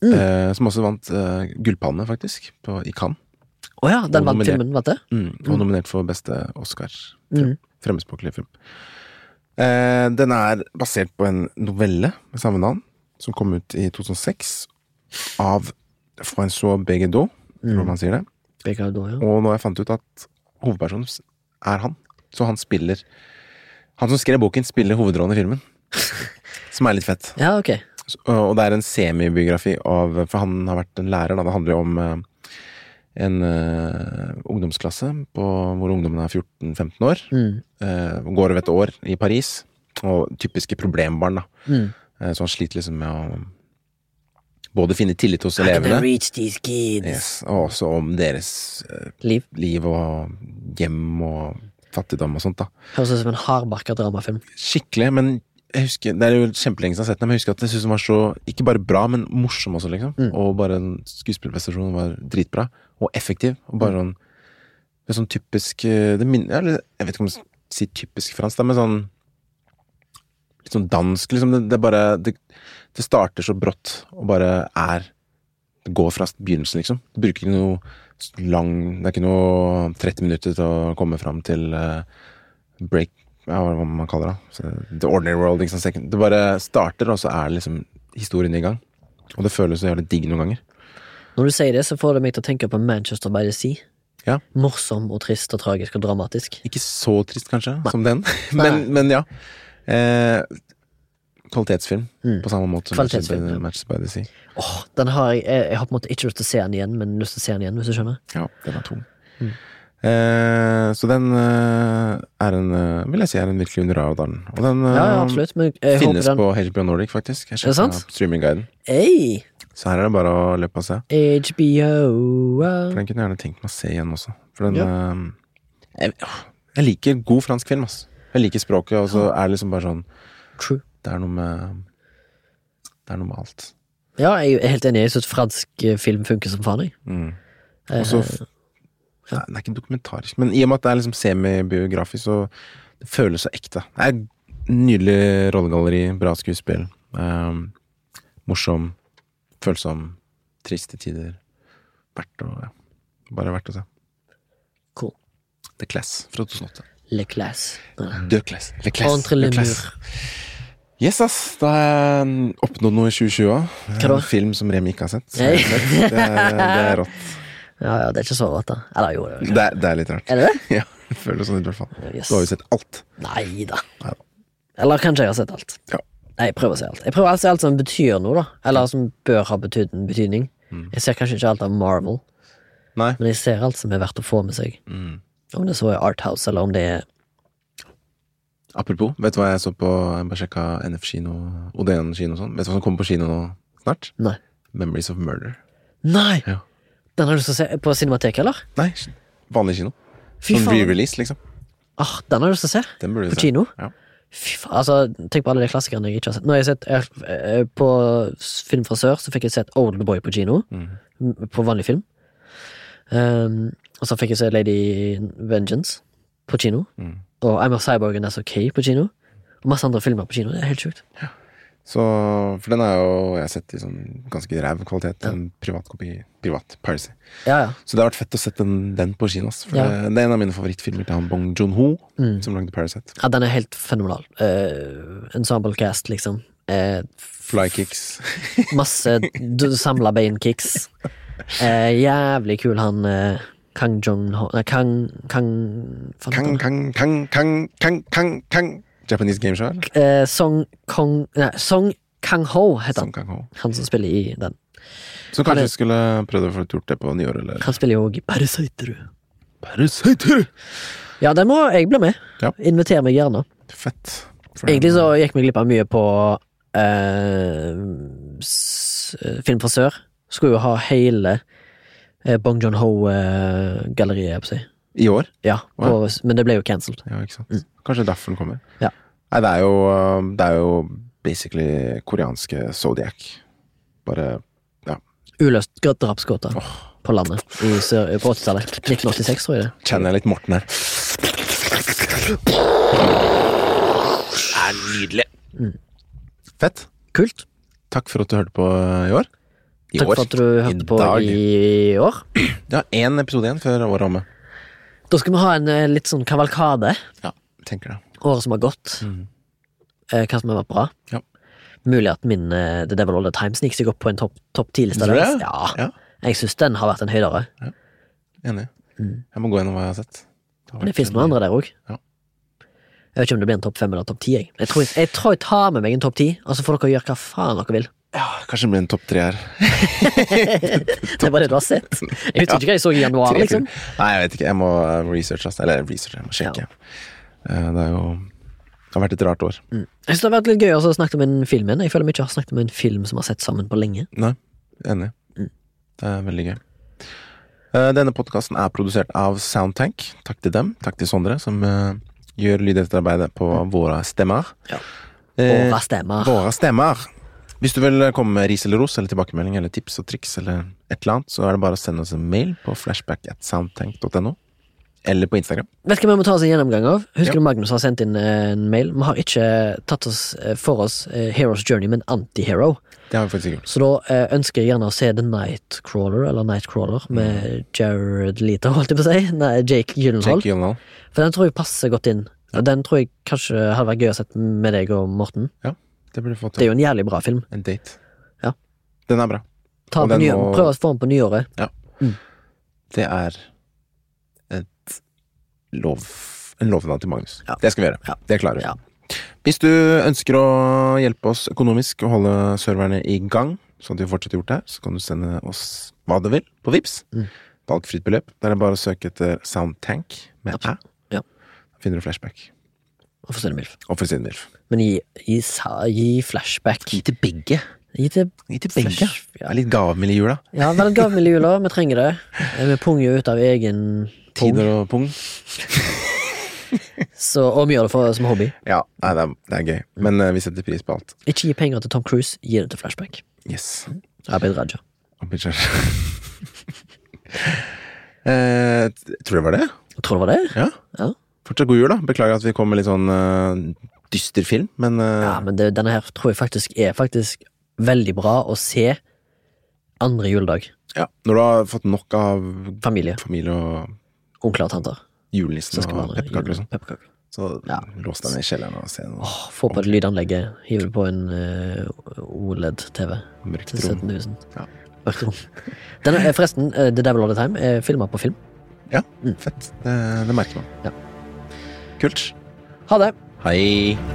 S1: Mm.
S2: Eh, som også vant eh, Gullpalme, faktisk, på, i Cannes.
S1: Å ja, den
S2: Og
S1: vant
S2: nominert.
S1: filmen, vant det?
S2: Mm, og nominert for beste Oscar.
S1: Mm.
S2: Fremmedspråklig film. Eh, den er basert på en novelle med samme navn, som kom ut i 2006, av Francois Beguedot, tror man sier det.
S1: Begard, ja.
S2: Og nå har jeg fant ut at hovedpersonen s- er han. Så han spiller Han som skrev boken, spiller hovedrollen i filmen. Som er litt fett.
S1: Ja, ok.
S2: Så- Og det er en semibiografi av For han har vært en lærer, da. Det handler jo om eh, en eh, ungdomsklasse på, hvor ungdommen er 14-15 år.
S1: Mm.
S2: eh, går over et år i Paris. Og typiske problembarn, da.
S1: Mm.
S2: Eh, så han sliter liksom med å både finne tillit hos
S1: How can I
S2: elevene,
S1: reach these kids?
S2: yes, og også om deres eh,
S1: Liv.
S2: liv og hjem og fattigdom og sånt, da.
S1: Høres ut som en hardbarka dramafilm.
S2: Skikkelig, men jeg husker, det er jo kjempelenge siden jeg har sett den, men jeg husker at jeg synes den var så, ikke bare bra, men morsom også, liksom.
S1: Mm.
S2: Og bare den skuespillprestasjonen var dritbra, og effektiv, og bare sånn, det er sånn typisk, eh, det minner, eller jeg vet ikke om jeg sier typisk fransk, da, men sånn, litt sånn dansk, liksom. Det, det er bare, det, det starter så brått, og bare er, det går fra begynnelsen, liksom. Du bruker ikke noe lang, det er ikke noe 30 minutter til å komme frem til eh, break ja, hva man kaller det. Så, the ordinary world. Ikke sant? Det bare starter, og så er det liksom historien i gang. Og det føles så jævlig digg noen ganger.
S1: Når du sier det, så får det meg til å tenke på Manchester by the Sea.
S2: Ja.
S1: Morsom og trist og tragisk og dramatisk.
S2: Ikke så trist, kanskje,
S1: Nei.
S2: som den,
S1: Nei.
S2: men, men ja. Eh, kvalitetsfilm,
S1: Mm.
S2: på samme måte som
S1: Kvalitetsfilm,
S2: Manchester by-
S1: ja.
S2: Manchester by the Sea.
S1: Åh, den har jeg, jeg, jeg har på en måte ikke lyst til å se den igjen, men lyst til å se den igjen, hvis du skjønner.
S2: Ja, den er tung.
S1: Mm.
S2: Eh, så den eh, er en eh, Vil jeg si er en virkelig under radaren. Og den eh,
S1: Ja, ja absolutt, men jeg håper
S2: finnes
S1: den
S2: på HBO Nordic, faktisk. Jeg
S1: Er det sant?
S2: sjekket streamingguiden.
S1: Hey,
S2: Så her er det bare å løpe og se.
S1: HBO
S2: For den kunne jeg gjerne tenkt meg å se igjen også. For den
S1: Ja.
S2: eh, jeg, åh, jeg liker god fransk film, ass. Jeg liker språket, og så er det liksom bare sånn
S1: True.
S2: Det er noe med Det er noe med alt.
S1: Ja, jeg er helt enig. Jeg syns fransk eh, film funker som faen, jeg.
S2: Mm.
S1: Eh,
S2: Og så f-
S1: ja.
S2: Nei, Den er ikke dokumentarisk, men i og med at det er liksom semibiografisk, så det føles så ekte. Det er Nydelig rollegalleri, bra skuespill. eh, morsom, følsom, triste tider. Verdt å ja. Bare verdt å se.
S1: Cool.
S2: The Class fra 2008.
S1: Le Class. Nei.
S2: The Class. The Class.
S1: Entre les
S2: The Class. Yes, ass. Da har jeg oppnådd noe i 2020 også.
S1: Hva da?
S2: En film som Remi ikke har sett.
S1: Nei.
S2: Det er, det er rått.
S1: Ja, ja, det er ikke så rått, da. Eller jo, det er
S2: Det er, det er litt rart.
S1: Er det det?
S2: Ja, det føles sånn ut, i hvert fall.
S1: Yes.
S2: Så har vi sett alt.
S1: Nei da.
S2: Nei da.
S1: Eller kanskje jeg har sett alt.
S2: Ja.
S1: Nei, jeg prøver å se alt. Jeg prøver å se alt som betyr noe, da. Eller som bør ha betyd en betydning.
S2: Mm.
S1: Jeg ser kanskje ikke alt av Marvel,
S2: Nei.
S1: men jeg ser alt som er verdt å få med seg.
S2: Mm.
S1: Om det så er Arthouse, eller om det er
S2: Apropos, vet du hva jeg så på Jeg bare sjekka NF kino, Odeon kino og sånn. Vet du hva som kommer på kino nå snart?
S1: Nei.
S2: Memories of Murder.
S1: Nei!
S2: Ja.
S1: Den har du lyst til å se på Cinemateket, eller?
S2: Nei, vanlig kino.
S1: Fy
S2: Sånn
S1: faen.
S2: re-release, liksom.
S1: Ah, den har du lyst til å se.
S2: Den burde
S1: På
S2: du se.
S1: kino?
S2: Ja.
S1: Fy faen, altså, tenk på alle de klassikerne jeg ikke har sett. Nå har jeg sett jeg, eh, På Film fra sør så fikk jeg sett Old Boy på kino.
S2: Mhm.
S1: m- På vanlig film. Um, og så fikk jeg se Lady Vengeance på kino.
S2: Mhm.
S1: Og I'm a Cyborg and That's Okay på kino. Og masse andre filmer på kino. Det er helt sjukt.
S2: Så, for den er jo jeg har sett i sånn ganske ræv kvalitet. En privat kopi. Privat piracy.
S1: Ja, ja.
S2: Så det har vært fett å sette den, den på kino. ass, For
S1: Ja.
S2: det, det er en av mine favorittfilmer til han Bong Joon-ho,
S1: Mm.
S2: som lagde Parasite.
S1: ja den er helt fenomenal. Eh, ensemble cast, liksom. Eh,
S2: Flykicks.
S1: Masse d- samla beinkicks. Eh, jævlig kul han eh, Kang Jong Ho Nei, Kang Kang, faen,
S2: Kang, kang, kang, kang, kang, kang, kang. Japanese game show, eller?
S1: eh, Song Kong Nei, Song Kang Ho heter han.
S2: Som Kang Ho.
S1: Han som spiller i den.
S2: Så
S1: Han er-
S2: kanskje vi skulle prøvd å få gjort det på nyåret, eller
S1: Han spiller jo òg i Parasite, du.
S2: Parasite!
S1: Ja, den må jeg bli med.
S2: Ja.
S1: Inviter meg gjerne.
S2: Fett. For
S1: Egentlig
S2: den-
S1: så gikk vi glipp av mye på eh, s- eh, Film fra sør. Skulle jo ha hele eh, Bong John Ho-galleriet, jeg på å si.
S2: I år?
S1: Ja, på, men det ble jo cancelled.
S2: Ja, ikke sant. Kanskje derfor den kommer.
S1: Mm. Ja.
S2: Nei, det er jo um, Det er jo basically koreanske Zodiac. Bare
S1: Uløst drapsgåte
S2: åh,
S1: på landet i sør, på 80-tallet. 1986, tror jeg det.
S2: Kjenner jeg litt Morten her. Det er nydelig.
S1: Mm.
S2: Fett.
S1: Kult.
S2: Takk for at du hørte på eh, i år. I
S1: Takk
S2: år.
S1: for at du hørte på
S2: dag.
S1: i år.
S2: Ja, én episode igjen før året er omme.
S1: Da skal vi ha en eh, litt sånn kavalkade.
S2: Ja, tenker det.
S1: Året som har gått. Eh, Hva som har vært bra.
S2: Ja.
S1: Mulig at min eh, The Devil All The Time sniker seg opp på en topp top ti-liste.
S2: Tror du
S1: deres.
S2: det?
S1: Ja.
S2: Ja.
S1: Jeg syns den har vært en høydere.
S2: Enig. Jeg må gå gjennom hva jeg har sett. har
S1: Men Mm. det
S2: vært
S1: fins
S2: en-
S1: noen andre der òg.
S2: Ja.
S1: Jeg vet ikke om det blir en topp fem eller topp ti. Jeg. Jeg, tror jeg, jeg tror jeg tar med meg en topp ti, og så får dere gjøre hva faen dere vil.
S2: Ja, kanskje det blir en topp tre her.
S1: Det var det du har sett. Jeg husker ikke hva jeg så i januar,
S2: Tre
S1: liksom.
S2: film. Nei, jeg vet ikke. Jeg må eh, researche. ass. Eller researche, jeg må sjekke. Eh, Det er jo Det har vært et rart år.
S1: Jeg synes Det har vært litt gøy også å snakke om en film igjen. Jeg føler vi ikke har snakket om en film som har sett sammen på lenge.
S2: Nei, enig.
S1: Mm.
S2: Det er veldig gøy. Eh, Denne podkasten er produsert av Soundtank. Takk til dem. Takk til Sondre, som eh, gjør lydetterarbeidet på våre stemmer.
S1: Mm. Ja.
S2: Eh,
S1: Våre stemmer.
S2: våre stemmer. Hvis du vil komme med ris eller ros eller tilbakemelding eller tips og triks eller et eller annet, så er det bare å sende oss en mail på flashback at soundtank.no. Eller på Instagram.
S1: Vet du hva vi må ta oss en gjennomgang av? Husker du
S2: Ja.
S1: Magnus har sendt inn eh, en mail? Vi har ikke tatt oss eh, for oss eh, Hero's Journey, men Antihero.
S2: Det har vi faktisk ikke gjort.
S1: Så da eh, ønsker jeg gjerne å se The Nightcrawler, eller Nightcrawler, med Jared Leto, holdt jeg på å si. Nei, Mm. Jake Gyllenhaal.
S2: Jake Gyllenhaal.
S1: For den tror jeg passer godt inn. Og den tror jeg kanskje hadde vært gøy å sett med deg og Morten.
S2: Ja, det burde du fått
S1: Det er jo en jævlig bra film.
S2: en date.
S1: Ja.
S2: Den er bra.
S1: Ta
S2: Og
S1: den på
S2: den
S1: ny-
S2: må-
S1: Prøv oss for den på nyåret.
S2: Det er et lov, en lovnad til Magnus.
S1: Ja.
S2: Det skal vi gjøre.
S1: Ja.
S2: Det klarer vi.
S1: Ja.
S2: Hvis du ønsker å hjelpe oss økonomisk og holde serverne i gang, sånn at vi fortsetter gjort det her, så kan du sende oss hva du vil på Vips.
S1: Mm.
S2: Valgfritt beløp. Der er det bare å søke etter Soundtank med æ.
S1: Ja.
S2: Da finner du flashback.
S1: Og for Milf.
S2: Og for siden Milf.
S1: Men gi, gi, sa- gi flashback. Gi
S2: til begge.
S1: til
S2: Gi til begge.
S1: flash.
S2: Det
S1: Ja,
S2: er litt gavmild i jula.
S1: ja vel, gavmild i jula. Vi trenger det. Eh, Vi punger jo ut av egen pung,
S2: Tider og pung.
S1: så, og vi gjør det for, som hobby.
S2: Ja, nei, det, er, det er gøy. Men eh, vi setter pris på alt.
S1: Ikke gi penger til Tom Cruise, gi det til flashback.
S2: Yes.
S1: Abid Raja.
S2: Abidjar. eh, t- tror det var det.
S1: Jeg tror det var det.
S2: Ja.
S1: Ja.
S2: Fortsatt god jul, da. Beklager at vi kom med litt sånn eh, dyster film, men eh,
S1: Ja, men det, denne her tror jeg faktisk er faktisk veldig bra å se andre juledag.
S2: ja. Når du har fått nok av
S1: Familie,
S2: familie og
S1: onkler og tanter.
S2: julenissen og
S1: søskenbarn,
S2: pepperkaker og sånn,
S1: Pepperkaker.
S2: så
S1: Ja.
S2: lås deg ned i kjelleren og se noe
S1: Åh, Få på et lydanlegg, hiv det på en eh, OLED-TV.
S2: mørkt
S1: Til
S2: rom.
S1: 17 000.
S2: Ja.
S1: Mørkt rom. Den er forresten eh, The Devil All The Time er filma på film.
S2: Ja, fett. Det, det merker man.
S1: Ja.
S2: Kult.
S1: Ha det!
S2: Hei.